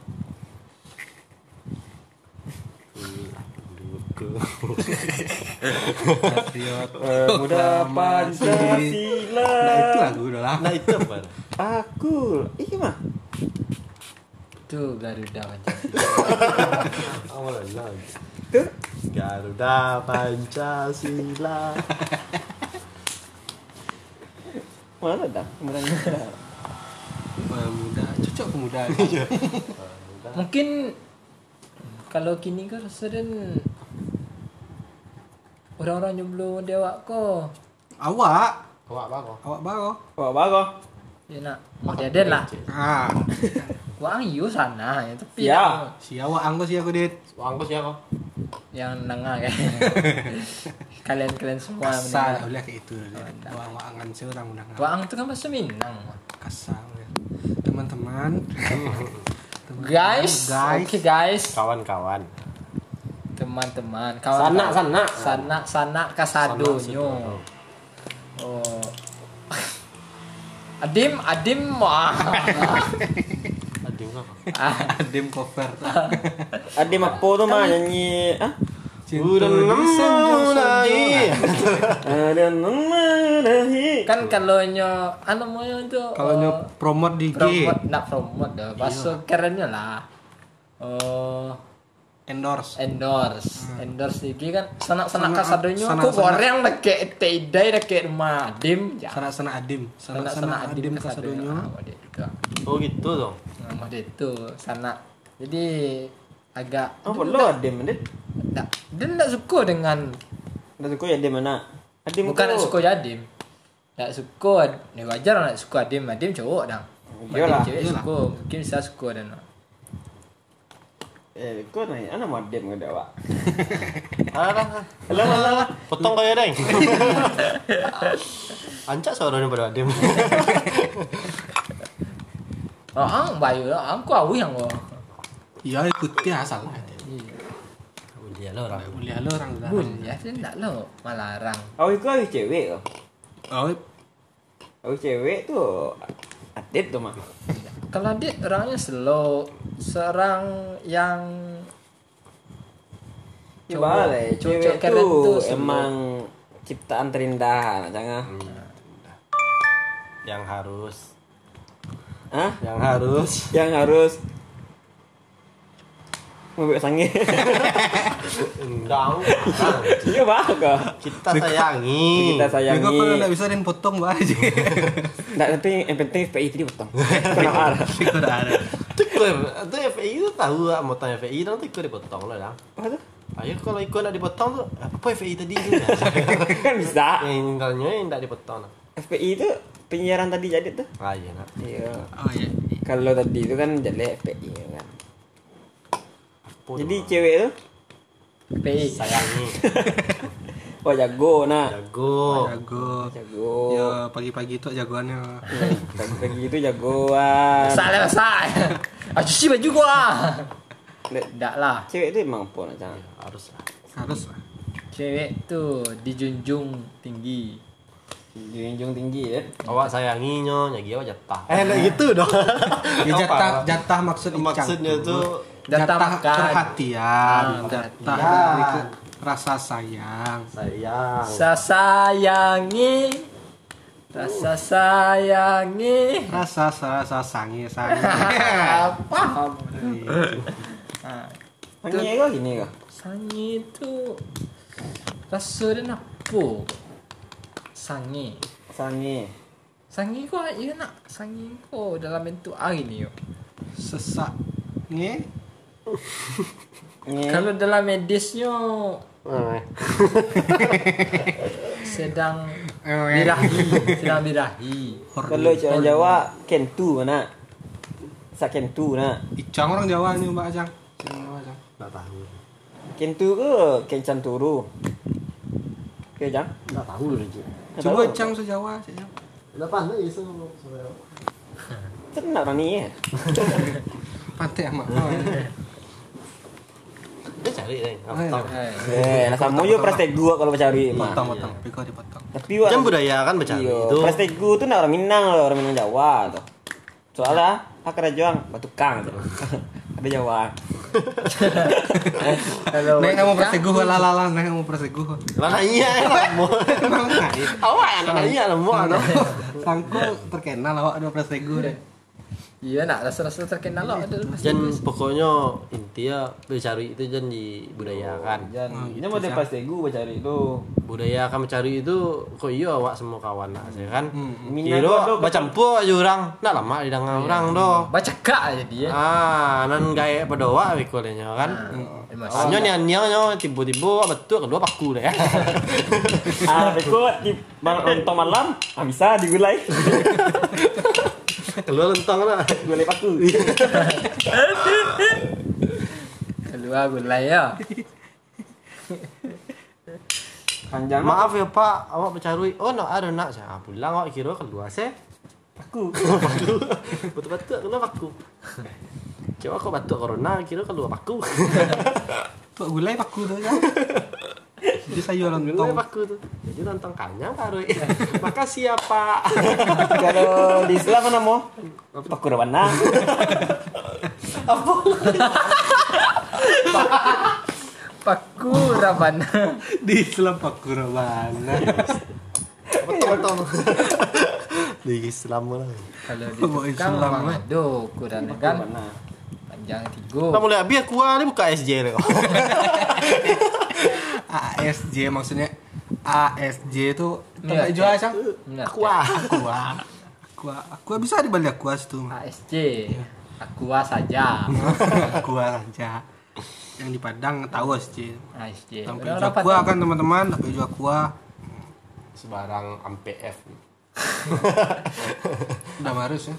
Patriot. Eh, Muda Proklamasi. Pancasila. Nah, itu lagu udah lah. nah itu apa Aku, iki mah. Tu Garuda macam. awal lagi Tuh. Garuda Pancasila Mana dah? Mana dah? Pemuda, cocok pemuda. Mungkin kalau kini kan sering orang-orang jomblo dewa ko. Awak, awak apa awak baru. Wah, bagus. Ya nak, modern lah. Ah, Wah, you sana ya tapi Ya. yang- si awak anggo si aku dit. kok angkos ya kok yang nengah kan. <laughs> Kalian-kalian semua Kasar, mendengar. boleh kayak itu. Oh, Awak angan seorang undang. Waang tu kan bahasa Minang. Kasar, boleh. teman-teman. <laughs> Guys, Guys. <laughs> oke guys, kawan-kawan teman-teman, sanak kawan sanak sana sana kasadonyo. Oh. <laughs> Adim, adim wah. aduh apa Adem <laughs> cover. Ada mapo tu mah nyanyi. Ah. udah mulai Ada nama nahi. kan kalau nyo anu mo yun tu Kalau nyop uh, promote di G, promote nak promote dah bahasa kerennya lah oh endorse. Eh, endorse endorse lagi kan sanak sanak Sanak- kasadonyo sanak- aku sanak. goreng dek teidai dek rumah dim ya Sana-sana Adem, sana-sana Adem kasadonyo. ah, dia juga oh gitu dong nama dia tu sanak jadi agak Oh, perlu ada mana? tak dia tak suka dengan Dah suka ya dia mana? Ada bukan tak suka jadim tak suka ni wajar nak suka adim adim cowok dah Iyalah, Adim cewek suka mungkin saya suka dan Eh, kau naik anak modem ke dah, Wak? alah Alah, alah, alah. potong kayak deng ancak suaranya pada adem Oh, ang bayu lah. Ang kau awi ang kau. Iya, ikuti asal. lah. udah lo orang Kuliah lo orang udah. Bun, ya sen tak lo malarang. Awak kau ada cewek ke? Oh, Awak cewek tu Adit tu mak. Kalau dia orangnya slow, serang yang Ya Cowok- balai, cowok cewek keren tu tu semua. emang ciptaan terindah, jangan. yang harus Hah? yang harus Yang harus Mabuk sange. <laughs> Endang. Iya bang kok. Kita sayangi. Kita Ya kok kalau nggak sayangi. bisa dan potong <laughs> bah aja. Nggak, tapi yang penting FPI tadi potong. Kena <laughs> marah. Kau dah ada. Tikul. Itu FPI itu tahu lah mau tanya FPI nanti ikut dipotong lah dah. Apa tuh? Ayo kalau ikut nak dipotong tu apa FPI tadi tu? <laughs> Kan bisa. yang tanya yang tak dipotong lah. FPI itu penyiaran tadi jadi tuh. Ah ya nak. Iya. Oh iya. Kalau tadi itu kan jelek FPI kan. Apa tu, Jadi Mak? cewek itu PI. lah. sayangi. wah jago nah. Jago. Jago. Jago. Ya pagi-pagi itu jagoannya. Pagi-pagi itu jagoan. Salah <laughs> masak. Aku cuci baju gua. Lek, Enggak lah. Cewek itu emang pun macam. Haruslah. Harus lah. Cewek tuh dijunjung tinggi. Junjung tinggi ya. Awak sayanginya, nyagi awak jatah. Eh, nggak gitu <laughs> dong. Ya, jatah, Apa? jatah maksud Icang. Maksudnya tu Jatah jatah makan. perhatian, Ah, jatah perhatian. dari ke- rasa sayang. sayang. Rasa ya sayangi. Rasa ya sayangi. Rasa rasa sangi sangi. Apa? Ah, Ini kok gini kok. Sangi itu rasa dia apa? Sangi. Sangi. Sangi kau ya nak sangi kau dalam bentuk air ni yo. Sesak. Nge? Ini Kalau dalam medisnya Eh, <laughs> sedang Eh. birahi, sedang birahi. kalau Horny. orang Jawa kentu mana? Sak kentu nak. Icang orang Jawa nih Mbak Ajang. Icang Jawa Ajang. tak tahu. Kentu ke kencan turu? Oke, Jang. Tak tahu lagi. Nggak Coba tahu. Icang se Jawa. se Jawa. Dah pandai je sama saya. Tenang orang ni ya. Pantai Oh, iya. amat. Dia cari ni. Eh, Apa tahu. Eh, Eh, nah sama yo prestegu kalau mencari mah. Potong potong. Piko dipotong. Tapi wak Kan budaya kan bercari Iya, tu. prestegu tu nak orang Minang loh, orang Minang Jawa tu. Soalnya hak ada juang batukang tu. <laughs> Ada Jawa. Kalau Neng kamu perseguh lah lah lah. Neng kamu perseguh. Lah iya lah. <laughs> Emang ngai. Awak nak nah, iya lah mu ana. <laughs> Sangku terkenal awak dua perseguh deh. Iya nak rasa-rasa terkenal lah ada lepas Jan pokoknya intinya bercari itu jan dibudayakan. Ini mau depas tegu mencari tu. Budaya akan mencari itu kok iya awak semua kawan nak saya kan. Minang tu ada Kira macam campur aja orang. Nak lama di dengan orang doh. Baca kak jadi ya. Ah, nan gaya pada awak weh kolenya kan. Eh, Masih Ah, nyo nian nyo nyo tiba-tiba awak betul kedua paku <laughs> deh. Ah, ikut di mal- lontong malam. Ah, bisa digulai. Keluar lentang lah. Gulai paku. keluar gulai ya. Panjang Maaf ya Pak, awak bercarui. Oh, nak ada nak saya. Ah, Pulang awak kira keluar saya. paku. <laughs> Paku. Betul-betul kena paku. Coba kok batuk corona kira keluar paku. Tok gulai paku tuh ya. Jadi sayur Keluar lontong. paku tuh. Jadi nonton kanya karui. Makasih ya Pak. Kalau di Islam kan, mana mau? Paku rawana. Paku <laughs> rabana. Di Islam paku rabana. <laughs> Betul-betul. Di Islam lah. <laughs> Kalau di Bawa tukang Islam, memang eh. ada kurang kan panjang Kita tiga. mulai habis kuah ni buka SJ ni. ASJ maksudnya ASJ itu Iya, tempat jual iya. cang. Ingat, Kuah. Aku ah. aku aku bisa dibalik aku situ. ASC. Ya. Aqua <laughs> saja. Aku aja. Yang di Padang tahu ASJ. ASC. Tapi Orang jual rapat kuah tau. kan teman-teman, tapi jual kuah Sebarang AMPF. udah marus ya.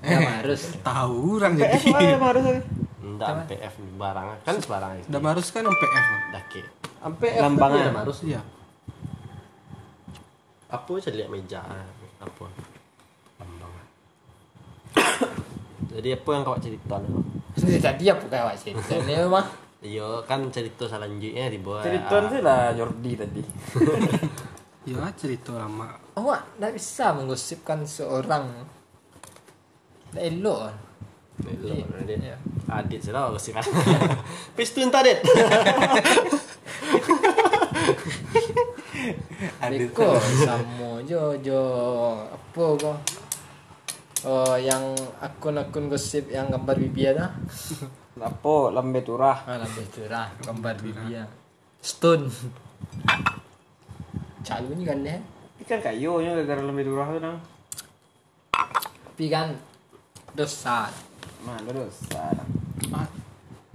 Dah marus. Tahu orang Eh, <laughs> jadi. semua harus. Ndak AMPF ni barang kan sebarang itu. Udah marus kan MPF. Dake. AMPF Lambangan. tapi dah marus. Iya. Apa saya lihat meja ah, apa? eh. Lambangan. <coughs> Jadi apa yang kau cerita ni? Jadi tadi apa kau <laughs> awak cerita ni mah? Yo kan cerita selanjutnya di bawah. Cerituan sih lah Jordi tadi. Ya cerita lama. Awak tak bisa menggosipkan seorang. Tak elok lah. Belum, Adit. Iya. Adit sih lah <laughs> kasih kan. Pistun tak Adit. Beko <laughs> sama jo jo apa kau? Oh yang akun-akun gosip yang gambar bibir dah. Lapo lambe turah. Alah betura gambar dia. Stone. Calunnya kan deh. Ikan kayu nya gara-gara lambe turah tu nang. Tapi kan dosa. Mana dosa. Ah, nang.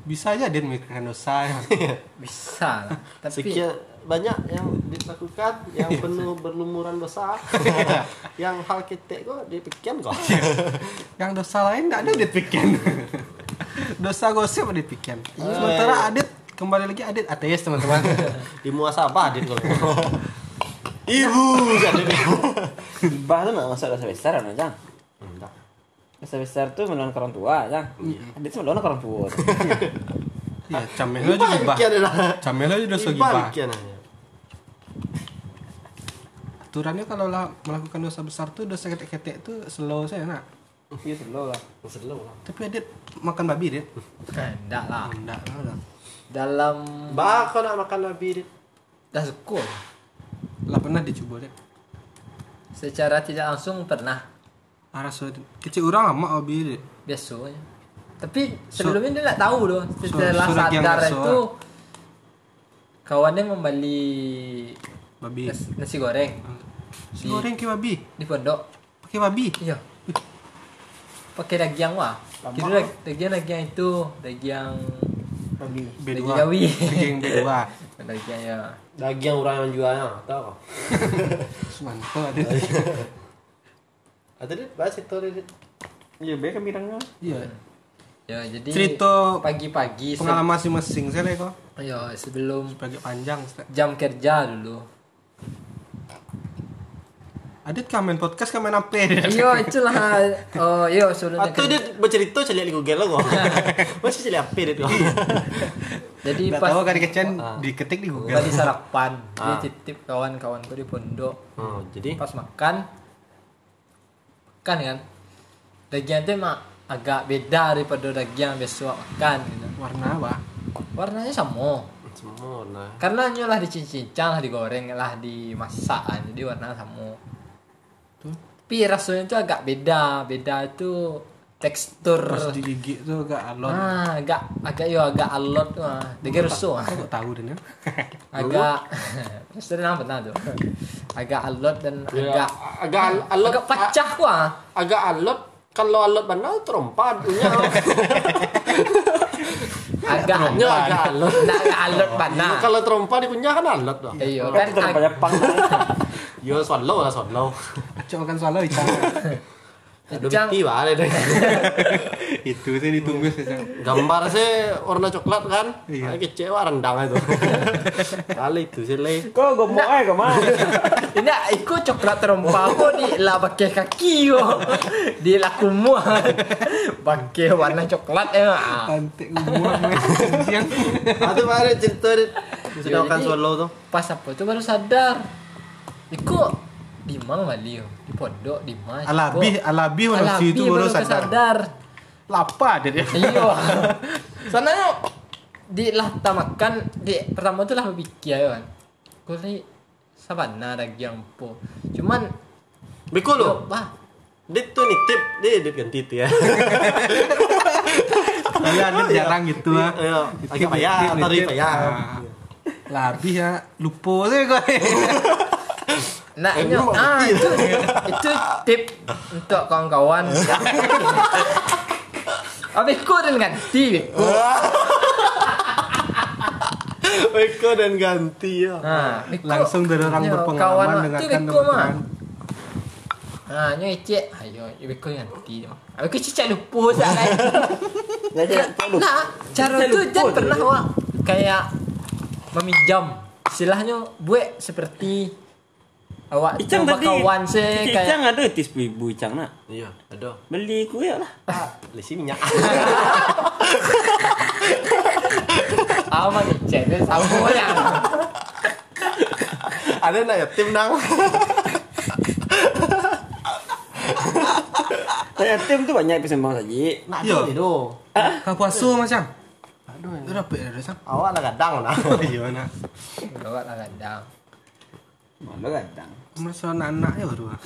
bisa aja dia mikirkan dosa ya. <laughs> Bisa lah. Tapi Sekian banyak yang dilakukan yang penuh berlumuran dosa yang hal ketek kok dipikirkan kok yang dosa lain nggak ada dia pikirkan <laughs> dosa gosip dia pikirkan Iya, sementara adit kembali lagi adit ateis teman-teman di muasabah <laughs> dia kalau ibu jadi Bah tu nak masuk dosa besar kan Jang. enggak Dosa besar tu melawan orang tua Jang. Adik tu melawan orang tua. tu. ya camel aja gibah Ibarat lah. camel aja dosa gibah Ibarat kian hanya. aturannya kalau lah melakukan dosa besar tuh dosa ketek-ketek tuh slow saya nak Ya slow lah. Slow lah. tapi adit makan babi dia kan enggak lah. enggak lah Dalam Bah, kau nak makan babi dit. dah suku lah pernah dicoba dia secara tidak langsung pernah arah sulit kecil orang lama babi dia biasanya. eh. Tapi sebelumnya dia nggak tahu loh. Setelah surat yang sadar nggak surat. itu kawannya membeli babi nasi, nasi goreng si goreng ke babi di pondok. pakai babi Iya. Pakai daging wah. Kira dag- daging daging itu daging Babi. B2 Daging babi. daging B2 daging ya. Daging orang yang jualnya, tahu kau. Sumanto adit Ada dit, bahas itu dit. Ya be kami ranga. iya Ya jadi Cerita pagi-pagi se- pengalaman masing-masing saya lah kok Ya sebelum sebagai panjang Ustaz. jam kerja dulu. Adit kamen podcast kan kamen apa dia? Iya itulah. Oh iya sebelum kerja. Atau dia bercerita celik di Google kau. <laughs> Masih celik apa dit kau. Jadi Nggak pas tahu kan gitu. Ah. Kecen diketik di Google. tadi sarapan, dia titip kawan-kawanku di pondok. <laughs> Oh, jadi Pas makan kan kan daging itu emang agak beda daripada daging yang biasa awak makan gitu. Warna apa? Warnanya sama. semua nah. Karena nyolah dicincang lah digoreng lah dimasak kan. Jadi warna sama. Tapi rasanya itu agak beda. Beda itu tekstur. Pas di gigi tuh agak alon. Ah, agak agak yo agak alot mah. Dege rusuh. ah. Aku kok tahu deh. Agak <laughs> Sudah nampak benar tuh. Agak alot dan Ya, agak agak al- alot agak pacah ku ah. a- agak alot kalau alot benar terompat punya. Agak Nyo agak alot. Nak agak alot Nah, panas. kalau terompat di punya kan alot dah. Iya Kau kan tu ag- pada pang. Yo solo lah solo. Coba kan soalnya itu. Aduh Jang. miti bah deh. <laughs> itu sih ditunggu sih. Cang. Gambar saya warna coklat kan. Iya. Iya. Kecewa rendang itu. Kali itu sih le. Kau gomok ai kau mah. <laughs> Tidak, ikut coklat terompa aku di lah pakai kaki yo. Di lah kumua. Pakai warna coklat ya. ah. Pantik gua yang Atau ada cerita dit. Yo, Sudah makan jadi- solo tuh. Pas apa tuh baru sadar. Iku di mang wali yo, di pondok di mang. alabi alabi orang Alabi situ baru sadar. Lapa dia. dia. Iya. Soalnya di lah kita makan di pertama tuh lah berpikir ya kan. Kau ni sabana daging po. Cuman Beko lo. yo, bah, Dit tuh nitip, dit, dit ganti itu ya. Soalnya Adit jarang gitu ah. Iya, agak Nitip, payah, nitip, atau nitip. payah. Ah. Labi ya, lupa sih kok. Nah, Eh, ini, lu mau ah, ngerti. itu, <laughs> itu tip untuk kawan-kawan. Habis kau dan ganti. Beko. <laughs> Beko dan ganti ya. Nah, Beko. Langsung dari orang Ya, berpengalaman kawan mak dengarkan tu Beko mah. teman-teman. Nah, nyo cek. Ayo, Beko ganti. Habis kau cicak lupa sah kan. Nak jadi tahu. Nah, cara Cicak tu lupa Jan tu. pernah wak kayak meminjam. Istilahnya buat seperti awak Icang coba tadi. kawan se Icang kayak ada tis ibu Icang nak. Iya, aduh. Beli kue lah. Lesi minyak. ama cek Ah, dia sama ya. <laughs> Ada nak ya tim nang. Saya tim tu banyak pesumbang saja. Nak Iya. tim itu. Kau puasa macam. Aduh. ya. Itu dapat ada sang. Awak lah kadang lah. <laughs> Iya nak. Lewat lah kandang. Malu kadang. Masa anak-anak ya baru. ah.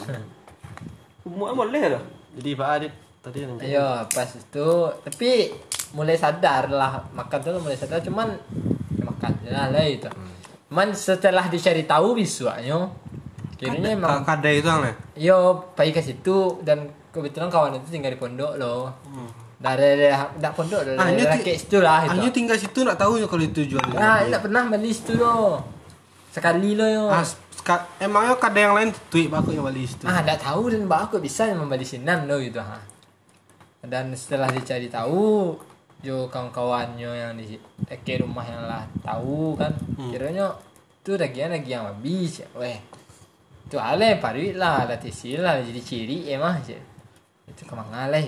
Umur boleh lah. Jadi Pak Adit tadi nanti. Ayo, pas itu tapi mulai sadar lah makan tuh mulai sadar cuman ya makan je lah lah itu cuman setelah dicari tahu visualnya Kan, kirinya emang Eh, Ka- kadai itu ya? aneh yo pergi ke situ dan kebetulan kawan itu tinggal di pondok loh dari daerah dak pondok dari Anjir, daerah ti- kek situ lah Anjir itu tinggal situ nak tahu ya kalau itu jual di nah Kadai. tak pernah beli situ loh sekali loh yo Ah, ska- emangnya kadai yang lain tweet aku yang balik situ. ah dak tahu dan mbak aku bisa membeli sinan loh gitu ha dan setelah dicari tahu yo kawan-kawannya yang di ke rumah yang lah tahu kan kiranya tuh dagian dagian habis weh tu ale parit lah lah tisi lah jadi ciri emah je itu kemana leh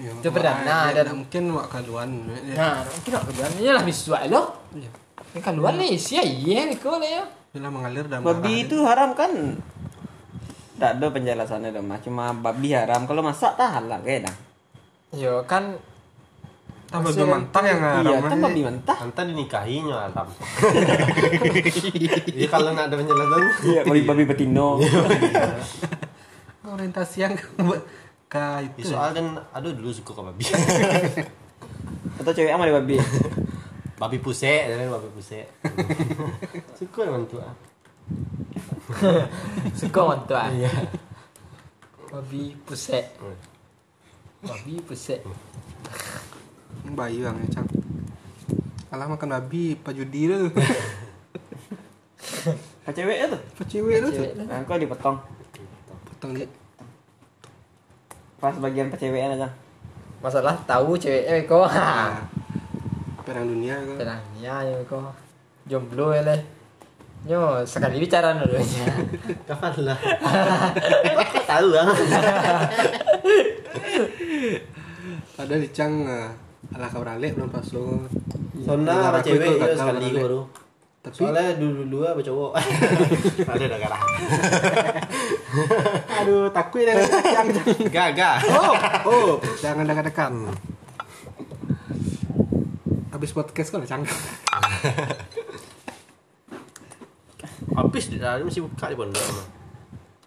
Ya, Itu mak- perdana ya, dan- tak mungkin mak kaluan. Ya. nah kita kerjanya lah visual loh Ya. ni keluar ni isi aja ni kau lah ya Bila mengalir dalam darah Babi dia. itu haram kan? Tak ada penjelasannya dong, Mas. Cuma babi haram kalau masak tak halal kayak dah. yo kan tambah belum mantap yang Iya, haram. eh. kan babi mentah. Anta dinikahinya <laughs> Alam. Jadi kalau nggak ada penjelasan, Iya, babi babi betino. Orientasi yang <laughs> ke, ke Ya, itu. eh. soal dan aduh dulu suka ke babi. <laughs> Atau cewek sama dia babi. babi puse, dan babi <laughs> puse. suka ah. dengan tua. suka <laughs> mantuan babi Ya. pusek babi pusek Bayu yang ya, cang. Alah makan babi pajudi lu. <laughs> Kau cewek itu. Pecewek lu tuh. Cewek lah. Nah, kau dipotong. Potong dia. Pas bagian percewekan aja. masalah tahu cewek eh <laughs> kau ha Ah. Perang dunia kan. tenangnya ya kau jomblo ya leh nyo sekali bicara <laughs> dulu aja Kapan <laughs> lah? Tahu lah. <laughs> Ada di cang eh, alah kau ralek belum pas lu. Sona apa Aku iya, cewek ikut itu kakak sekali orang baru. Tapi <laughs> Soalnya dulu dulu apa cowok. <laughs> Ada dah garah. aduh takut dah cang. Gak gak. <laughs> Oh, oh, jangan dekat-dekat. Habis podcast kau lah <laughs> cang. Habis di dalam masih buka di pondok. mah.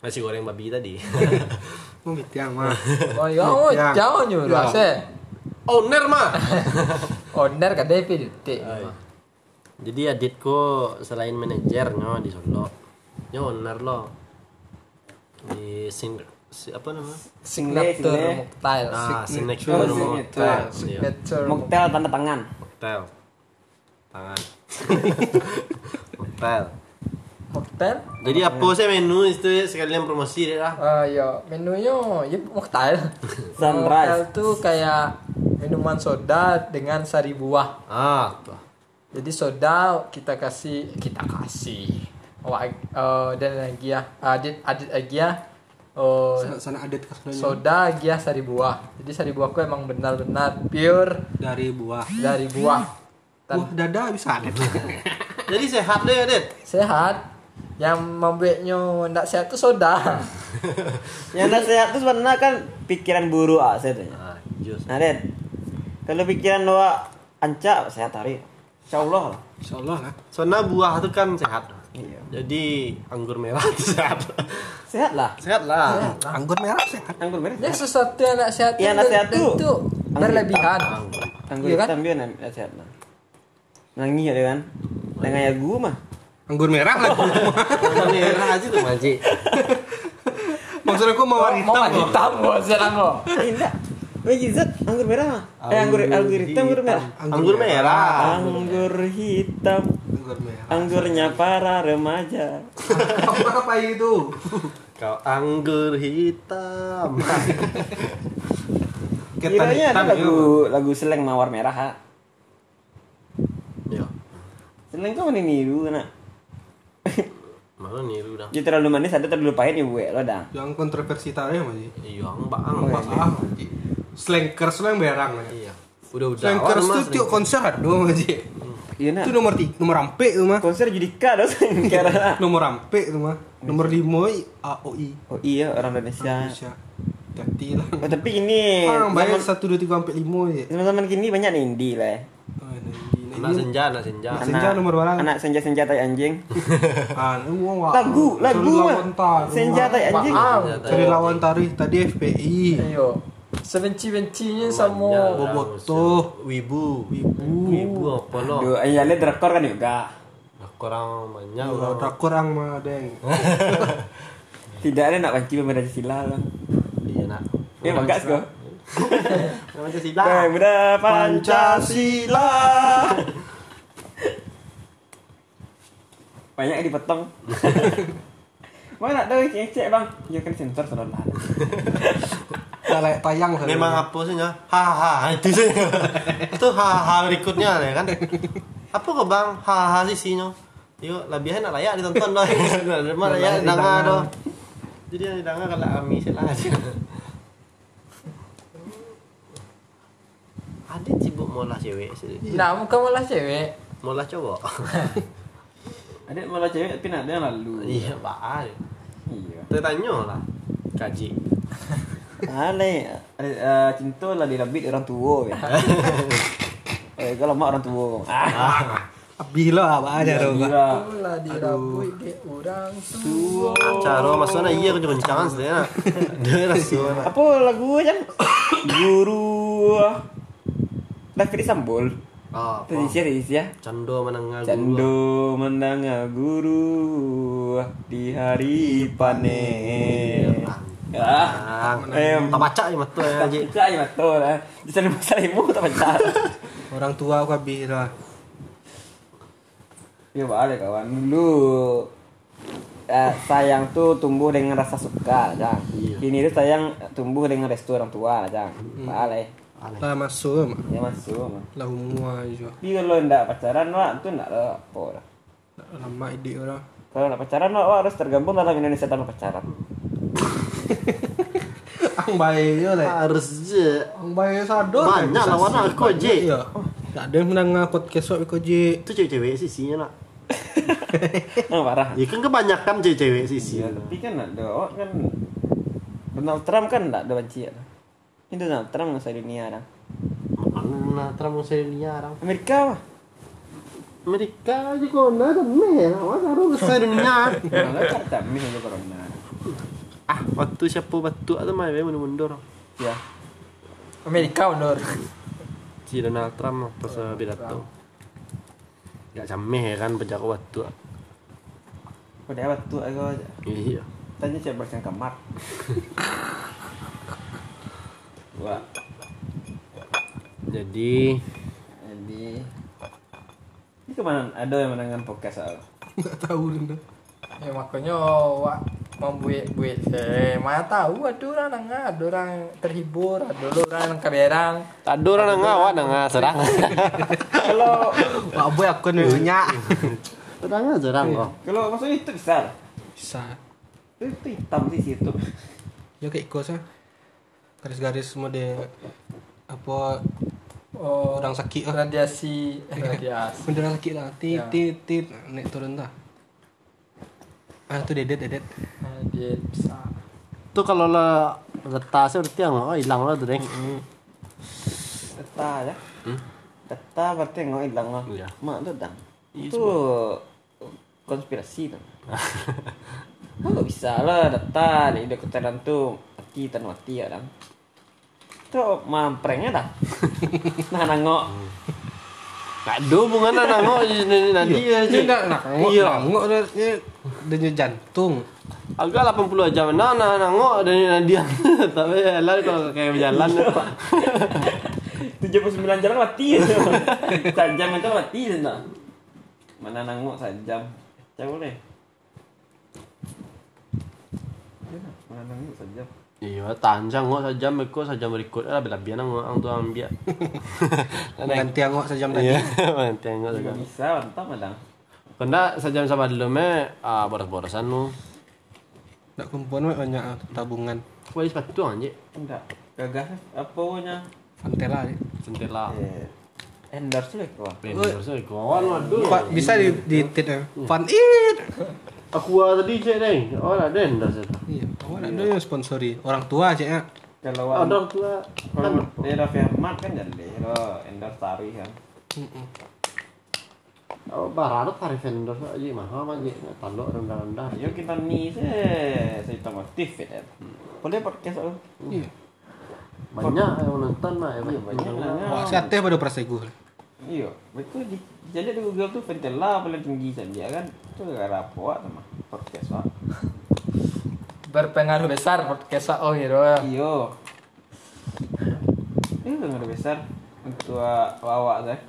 Nasi goreng babi tadi. <laughs> Mau bitiang <laughs> mah. oh yo oh Ya. jauh nyo Ya. rasa Owner mah. owner kan dia pilih detik Jadi aditku selain manajer no di Solo, nyo owner lo di sing si, apa namanya? signatur Single. muktail Ah, Oh, signature room hotel. signature. Iya, signatur Moktel tanda tangan. hotel. <laughs> Tangan. hotel. muktail Jadi apa sih menu itu ya, sekalian promosi deh lah. Ah ya, menunya ya <laughs> muktail. Muktail Sunrise. tuh kayak minuman soda dengan sari buah. Ah, tuh. Jadi soda kita kasih kita kasih. Wah, eh, dan lagi ya, adit adit lagi ya. Oh, Sana, sana adat kau sebenarnya. soda lagi ya sari buah. Jadi sari buahku emang benar-benar pure Dari buah. dari buah. Dan Buah dada bisa adat. Jadi sehat deh, Adit. sehat. Yang membuatnya tidak sehat itu soda. Yang tak sehat itu sebenarnya kan pikiran buruk ah saya tanya. Ah, jus. Nah, Den. Kalau pikiran lo ancak sehat hari. Insyaallah. lah. <laughs> Insyaallah lah. Soalnya buah itu kan sehat. Iya. Jadi anggur merah itu sehat. Sehat lah. sehat lah. Nah, Anggur merah kan? sehat. Anggur merah. Ya sesuatu yang tidak sehat Yang nasihat tuh itu berlebihan. Anggur Iya kan? hitam dia nam- nasihat lah. Nangis ada kan? Dengan ya gua mah. Anggur merah <laughs> lagi. Anggur merah aja tuh, Maji. Maksud aku mawar mau Oh, hitam. loh. hitam kok sekarang kok. Tidak. Wajib zat anggur merah mah. Eh anggur anggur hitam anggur merah. Anggur merah. Anggur hitam Anggur merah. <laughs> anggurnya para remaja. Apa apa itu? Kau anggur hitam. Ketan Kiranya hitam ada itu. lagu lagu seleng mawar merah ha. <laughs> Yo, Seleng kau mana niru nak. mana niru dah. Jadi terlalu manis ada terlalu pahit ya gue lo dah. Yang kontroversi tadi mah sih. Iya, bang, ang Oh, Apa ah? Slankers lah yang berang. Maji. Iya. Udah udah. Slankers tuh tiap konser ada mah sih. Iya Itu nak. nomor tiga, nomor ampe itu <laughs> mah. Konser judika dong kira. Nomor ampe itu mah. Nomor lima AOI. Oh iya orang Indonesia. Indonesia. Ganti lah. Oh, tapi ini Orang bayar zaman satu dua tiga ampe lima sih. zaman kini banyak nih indie lah. ya. Ah, nah, ini- Anak ini- senja, anak senja. Anak senja nomor berapa? Anak senja senja tai anjing. Ah, ini wong wak. Lagu, Cari lagu mah. lawan taruh. ya? Senja Eh, tai anjing. Maaf. Cari lawan taruh tadi FPI. Ayo. sebenci-bencinya sama Bobotoh. wibu wibu wibu apa lo Duh, iya lihat drakor kan juga. kurang banyak Kalau orang tak kurang mah deng. Tidak ada nak banci pemerintah sila lah. iya nak Ini magas kau. namanya sila Pemuda <laughs> Pancasila. Banyak yang dipotong. Mana ada cek-cek bang? Ya kan sensor sudah lah. Kayak tayang hari Memang ini. apa sih ya? Haha <laughs> itu sih. itu haha berikutnya ya kan. Apa kok bang? Haha sih sih nyo. Yuk, lebih enak layak ditonton <laughs> dong. Mana layak danga dong. Jadi yang danga kalau kami sih lah <laughs> aja. Ada cibuk mola cewek sih. Nah, muka malah cewek. Mola cowok. Ada malah cewek tapi ada yang lalu. <laughs> Iya, Pak. Iya. Tertanya lah. Kaji. Ale, uh, cinta lah dilabit orang tua. Ya. eh, kalau mak orang tua. Ah, Abih lo apa aja dong. Kak? Iya, gila. Pula dirabui di orang tua. Caro maksudnya iya kencang-kencangan sih <laughs> ya. Dia rasanya. Apa lagu yang guru David Sambol. Oh, Indonesia, Indonesia. Cando menengah guru. Candu mendengar ah, guru di hari panen. Ah, Ah, eh, tak baca je mata ya tak Haji. cik aja betul lah. Di sana pasal ibu tak baca. Orang tua aku abih lah. Ya balik kawan dulu. eh, sayang tuh tumbuh dengan rasa suka, Jang. Kini tuh sayang tumbuh dengan restu orang tua, Jang. Balik. Lah masuk mah. Ya masuk. Mak. Lah umur aja. Tapi kalau ndak pacaran, Wak, tuh ndak ada apa dah. Lama ide orang. <laughs> Kalau ndak pacaran, Wak, Wak harus tergabung dalam Indonesia tanpa pacaran. <laughs> Ang bae yo le. Harus je. Ang bae sador. Banyak lawan aku je. Iya. Oh, Tak ada yang menang podcast wak kau <laughs> je. Itu cewek-cewek sisinya nak. Nah, parah. Iya, Ya kan kebanyakan cewek-cewek sisi. Ya, tapi kan ada awak kan Donald Trump kan tak ada banci ya. Ini Donald Trump masa dunia dah. Mana terang Australia orang. Amerika lah. Amerika aja kau nak dan meh. Awak baru ke Australia. Kalau tak kan tak mih ada corona. Ah, waktu siapa batuk atau mai mundur-mundur. Ya. Amerika mundur. si Donald Trump pas uh, pidato gak cameh kan pejak waktu Pada apa tu aku aja. iya Tanya siapa yang kamar. Wah, jadi jadi ini kemana ada yang menangan podcast aku. Enggak tahu dah. Ya makanya wak membuat-buat saya. Mana tahu ada orang nengah, ada orang terhibur, ada orang yang keberang. tak ada orang dengar awak dengar serang Kalau Wak boy aku ni <laughs> banyak. Terang aja Eh. orang kau. kalau maksudnya itu besar. Bisa. Itu, itu hitam sih situ. Ya kayak kos ah. Garis-garis mode apa Oh, orang sakit ah. radiasi, eh, radiasi. Bendera sakit lah. Tit Ya. tit tit naik turun dah. Ah tu dedet dedet. Ah, Dia besar. Tu kalau lah letak saya berarti yang oh, hilang lah tu deh. Data ya. Data berarti ngau hilang lah. Iya. Mak tu dang. Itu konspirasi tu. Kau gak bisa lah data di deketan tu mati tan mati ya dang. Tu mamprengnya dah. nah nangok. tak ada hubungan lah nangok nanti ya Ini nak nak ngok. Iya. Ngok dia dia denyut jantung. agak 80 jam nah nah nangok dan <laughs> Nadia tapi lah kalau kayak berjalan lah, <laughs> Tujuh puluh sembilan jalan mati. <laughs> Sajam itu mati sana. Mana nangok sajam. Jauh boleh. Mana nangok sajam. iya tanjang ngok sajam berikut sajam berikut lah bela biar nangok ang tu <laughs> ambil Ganti ngok sejam tadi. iya Lah, nanti ngok Gak sajam bisa, mantap madang. kena sajam sama dulu me ah boros-borosan lu Nak kumpulan wak banyak ah, tabungan. Kuali sepatu anjir Enggak. Gagah apa punya? Fantela ni. Sentela Eh, endorse eh? lagi kok. Vendor saya kawan waduh. Pak bisa di di tit eh. Fan it. Aku ah, tadi cek deh. Oh ada endor saya. tak. Iya, awak nak ada yang sponsori. Orang tua aja ya. Kalau Ada ada orang tua kan kalau daerah Firman kan jadi lo endorse tari kan. oh, barang tarif vendor aja mahal Iya, aja. Talok rendah-rendah. Ayo kita eh. nih se, saya motif ya. Boleh podcast lo. Iya. banyak yang nonton Iya, mah banyak Wah, siate pada praseguh. <laughs> Iya, betul di jadi di Google tu pentela paling tinggi saja kan. Tu gara apa awak sama podcast awak. berpengaruh besar podcast oh gitu ya. Iya. Ini dengar besar untuk awak awak tu. eh.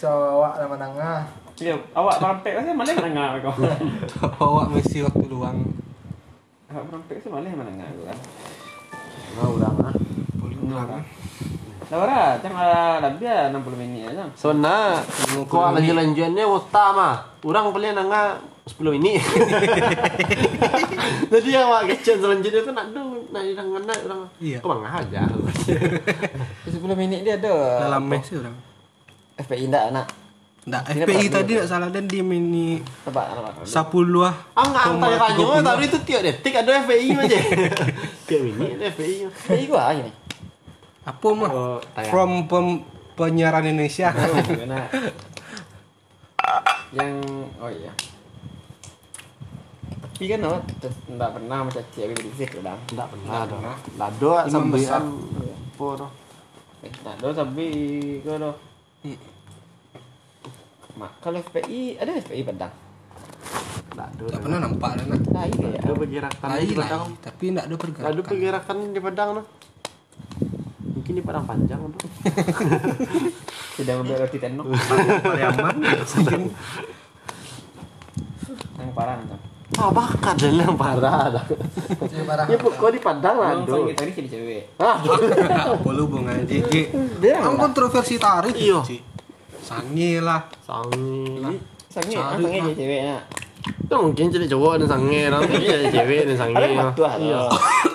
cowok sama menengah Iya, awak merampek kan mana yang menengah kau. <laughs> Bawa misi waktu luang. Awak merampek kan mana yang menengah kau kan. nah orang ah Boleh luang. Dah ora, jangan lebih ya 60 minit aja. sebenarnya kau lagi lanjutannya utama orang paling nengah 10 ini <laughs> jadi yang wak kecil selanjutnya tu nak do nak di tangan nak orang Iya. kau bangah aja 10 minit dia ada. Dalam mes sih orang. FPI tak nak. Nggak, Ini FPI apa? tadi nggak salah dan di mini Tebak tebak. 10 ah. Angkat antar kanyo tapi itu tiap detik ada FPI aja. tiap ini Ini FPI. Ini gua ini. Apa mah? Oh, tayang. From pem- penyiaran Indonesia. <laughs> Kena. Yang oh iya. Tapi kan awak tetap tak pernah mencaci Habib Rizik ke dalam. tidak pernah ada Lado besar. sambian. Apa tu? Eh, tak ada tapi kau dah. Mak, kalau FPI ada FPI Padang. Nah, Lado Nggak pernah nampak lah nak. Tak ada. Lado pergerakan Tai di Padang lah, eh. tapi nggak ada pergerakan. Lado pergerakan di Padang tu. mungkin di Padang panjang tu Tidak membeli roti tenok. Pariaman. Yang parah tu. ah bakar dan yang parah <laughs> dah parah. ya pokok di Padang Yang Lado paling kita ni jadi cewek. ah <laughs> Polu bunga jiji. Eh, Dia Ang Kan kontroversi tarik. Iya. Ci. Sangi lah. sangi lah sangat Cari, Mak. sangat jadi cewek nak. itu mungkin jadi cowok dan sangi <laughs> lah jadi jadi cewek dan Iya. sangi Ada lah fatwa tu.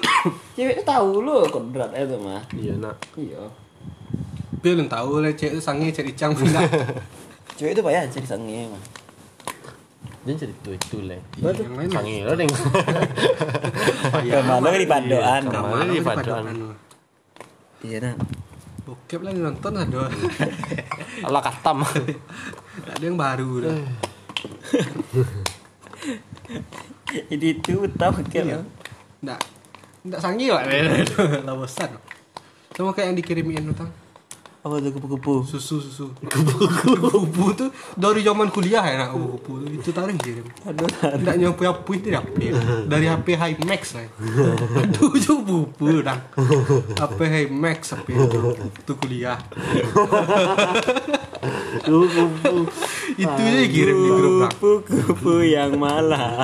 <coughs> Cewek tu tahu lo kodrat dia tu mah. iya nak Iya. Dia belum tahu lah cek sangi cek icang pula. Cewek tu payah jadi sangat mah. dia jadi tu itu lah Iya, Yang lain sangi lah <laughs> ding Kemalu di pandoan. Iya, Mana di Di Paduan. Paduan. Iya nak. kan Bokep lah nonton ada. Allah katam Nggak <laughs> ada yang baru dah. Jadi itu tahu kan. Iya. Nggak. Nggak sangi lah. <laughs> Lah bosan. Sama kayak yang dikirimin utang. Apa tu kupu-kupu? susu susu kubu-kubu tuh dari zaman kuliah ya nak kubu-kubu tuh. itu tarik kirim Aduh. tidak nyampe apa itu dari HP dari HP High Max <laughs> lah itu juga bubu dah HP High Max HP itu <laughs> kuliah itu aja kirim di grup lah Kupu-kupu yang malah.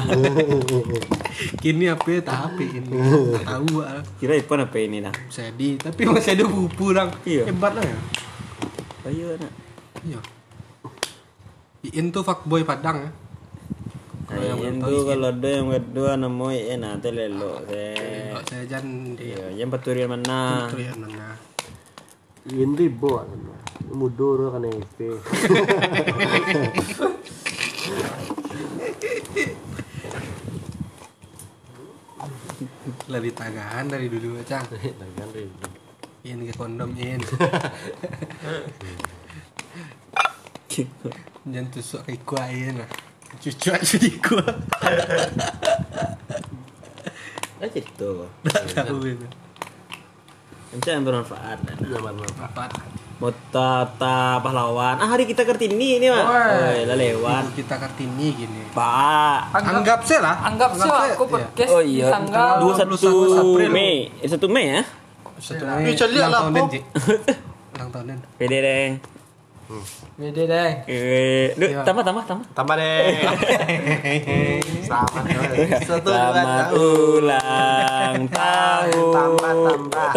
kini HP tak HP <laughs> ini tak tahu lah Kira iPhone apa ini nak? jadi tapi <laughs> masih ada bubu lah Iya. hebat lah ya Ayo nak. iya Iin tuh fuckboy Padang ya Kalau yang belum Yang tahu tu kalau ada yang kedua nama Ian ah, ada lelok. Iya, saya. saya jangan di Iya, yang peturian mana? Korea mana ini ribu kan. mudur kan yang dari tagahan dari dulu aja kan, ini ke kondom in jangan tusuk ke gua in lah cucu aja <laughs> di gua Dah cerita. tak tahu ini Macam gitu. yang bermanfaat. kan. nak. Iya, apa Mutata pahlawan. Ah hari kita Kartini ni mah. Oi, lah lewat. kita kartini gini Pak. anggap saya lah anggap sih aku saya, podcast Oh di iya, tanggal tanggal 21 April. Mei. Eh, 1 Mei ya. iya. satu Mei Ih, celik ulang lah, tahun Po. dan Ji. ulang tahun dan Pede deng. beda deh Eh, duk, tambah tambah tambah. Tambah deh. Selamat. Satu dua Selamat tahun. ulang tahun. Tambah tambah.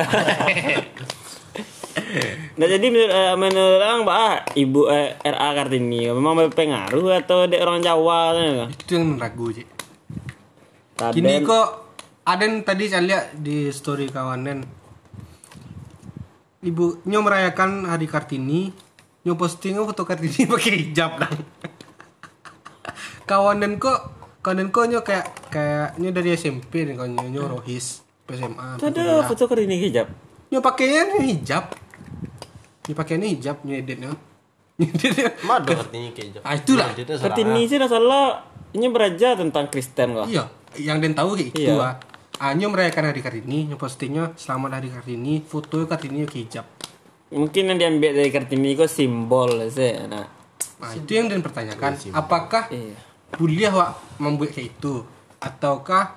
Nah jadi menurut, eh, menurut orang Pak ah, Ibu eh, RA Kartini memang berpengaruh atau dia orang Jawa kan, ya? tu? itu yang ragu Ji. Taden. Gini kok Aden tadi saya lihat di story kawanan Ibu nyo merayakan hari Kartini Nyo posting oh, foto Kartini <laughs> pakai hijab kan Kawanan kok Kawanan kok nyo kayak Kayak nyo dari SMP nih kawan nyo, nyo rohis SMA Tu ada foto Kartini hijab. Nyo pakainya nyo hijab Nyo pakainya hijab nyo edit <laughs> nyo Nyo edit oh. nyo. Mado artinya gitu. kejo. Ah itulah Artinya Oh. Kartini sih dah salah ini beraja tentang Kristen kok. Iya, yang Den tahu kayak itu Iya. ah. Anyo merayakan hari Kartini, nyo postingnya selamat hari Kartini, foto Kartini yo hijab. Mungkin yang diambil dari Kartini kok simbol sih. Nah. Nah, itu yang dan pertanyakan, apakah Iya. kuliah wak membuat kayak itu ataukah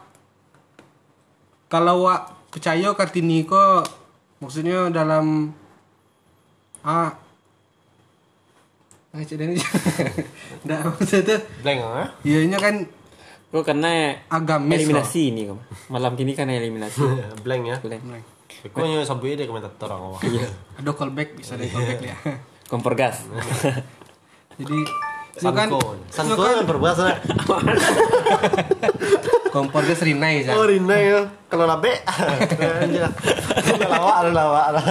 kalau wak percaya Kartini kok maksudnya dalam ah Nah, cek ini. <laughs> Nggak, maksudnya Blank ah. Iya, ini kan Kok karena agamis. eliminasi ini kok. Malam kini karena eliminasi. Ya, <laughs> Blank ya. Boleh. Aku nyu sabui deh komentator orang awak. loh. Ada callback bisa ada callback ya. <laughs> Kompor gas. Jadi itu kan Sanko. Sanko yang berbuat sana. kompornya serinai ya. Oh Rina ya. Kalau labe. Kalau lawak ada lawak ada.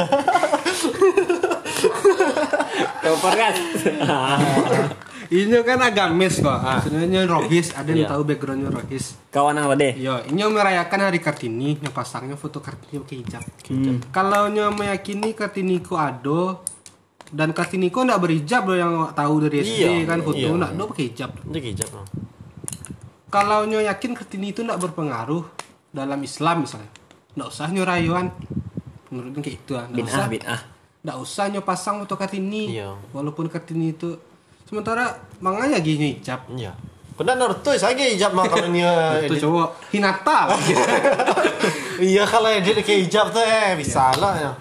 Kompor gas. Ini kan agamis kok. Sebenarnya rogis, ada yang tahu backgroundnya rogis. Kawan eh. apa deh? Yo, ini merayakan hari Kartini, yang pasangnya foto Kartini pakai hijab. Hmm. Kalau nyo meyakini Kartini ku ado dan Kartini ku ndak berhijab loh yang awak tahu dari SD Iya, kan foto iya. ndak do pakai hijab. Ini hijab. no. Kalau nyo yakin Kartini itu ndak berpengaruh dalam Islam misalnya. Ndak usah nyo rayuan. Menurut kayak itu ah. Ndak Bid'ah, usah. bid'ah. Ndak usah nyo pasang foto Kartini. Iya. Walaupun Kartini itu sementara manganya gini hijab. Iya. Kena nertus aja hijab mah kalau eh, ni. Iya, Itu cowok <laughs> Hinata lah. Iya kalau edit ke hijab tuh eh bisa lah ya.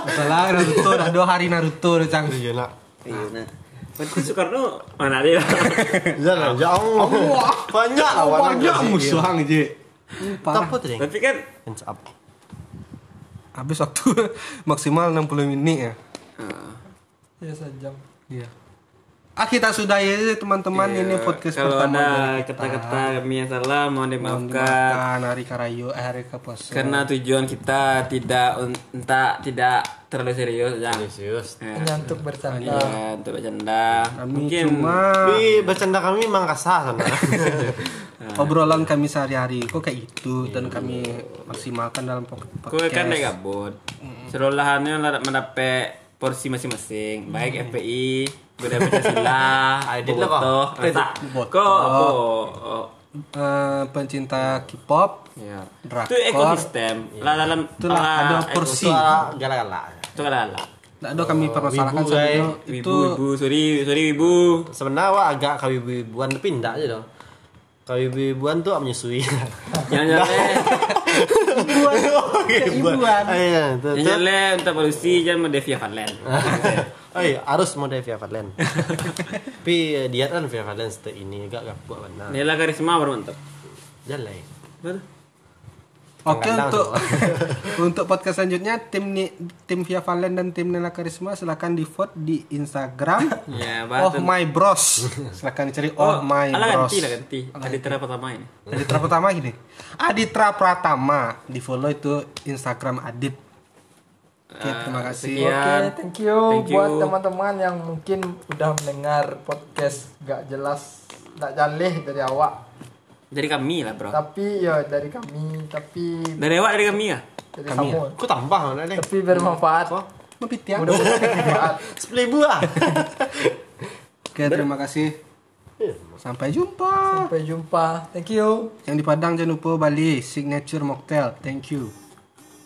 Masalah Naruto dah dua hari Naruto dah canggih. Iya nak. Iya. Nah. Menteri Soekarno mana <laughs> dia? Jangan Iya, jauh. Allah. Banyak Oh, lawan. banyak iya. musuh hang je. Tapi tuh deh. Tapi kan Hands up. Habis waktu <laughs> maksimal 60 menit ya. Ya sejam. Iya. Ah kita sudahi teman-teman ini podcast Iya. kalau pertama ada dari kita. kata-kata kami yang salah mohon Mohon dimaafkan. dimaafkan hari karayu eh, hari kepuasa. Karena tujuan kita tidak entah tidak terlalu serius ya. Serius. Ya, Menyantuk bercanda. ya, untuk bercanda. kami Mungkin cuma Tapi bercanda kami memang kasar <laughs> sana. Nah. obrolan kami sehari-hari kok kayak gitu dan kami maksimalkan dalam po- Iya. kue podcast. kan naik gabut. Serolahannya lah mendapat porsi masing-masing. Baik FPI, Beda <laughs> Pancasila, Edit lah kau. Bobotoh. Eh, tak. Kok kok oh, Eh, pencinta K-pop ya. Drakor. Itu ekosistem. Lah dalam Iya. itulah lah, ada ekos- porsi. Galak-galak. Itu lah lah. Tidak ada kami permasalahkan wibu, sampai guys. itu eh, Ibu, <laughs> ibu, sorry, sorry ibu. Sebenarnya awak agak kawibu-wibuan tapi enggak aja dong. Kawibu-wibuan tuh awak menyusui. Yang <laughs> jelek, Ibuan. Ibuan. <laughs> Iya, tuh. yang <laughs> jelek untuk polisi jangan mendevia Valen. Oh iya, harus mau dari Via Valen. Tapi eh, dia kan Via Valen setelah ini agak gabut benar. Nila karisma baru mantap. Jalan. Oke Pengandang untuk <laughs> untuk podcast selanjutnya tim ni, tim Via Valen dan tim Nela Karisma silakan di vote di <laughs> Instagram. Ya, oh batu. my bros. Silakan dicari oh, my Alah bros. Oh, ganti lah ganti. Aditya pertama ini. Aditra Pratama gini. Aditra Pratama di follow itu Instagram Adit. Oke, terima kasih. Oke, Sekian. thank you Iya. Thank you. buat teman-teman yang mungkin udah mendengar podcast gak jelas, gak jaleh dari awak. Dari kami lah bro. Tapi ya dari kami, tapi Dari awak dari kami ya. dari kamu. Aku tambah mana nih? Tapi bermanfaat. Mepit ya. Mudah-mudahan bermanfaat. Sepuluh ribu lah. <laughs> Oke, terima kasih. Sampai jumpa. Sampai jumpa. Thank you. Yang di Padang jangan lupa Bali signature mocktail. Thank you.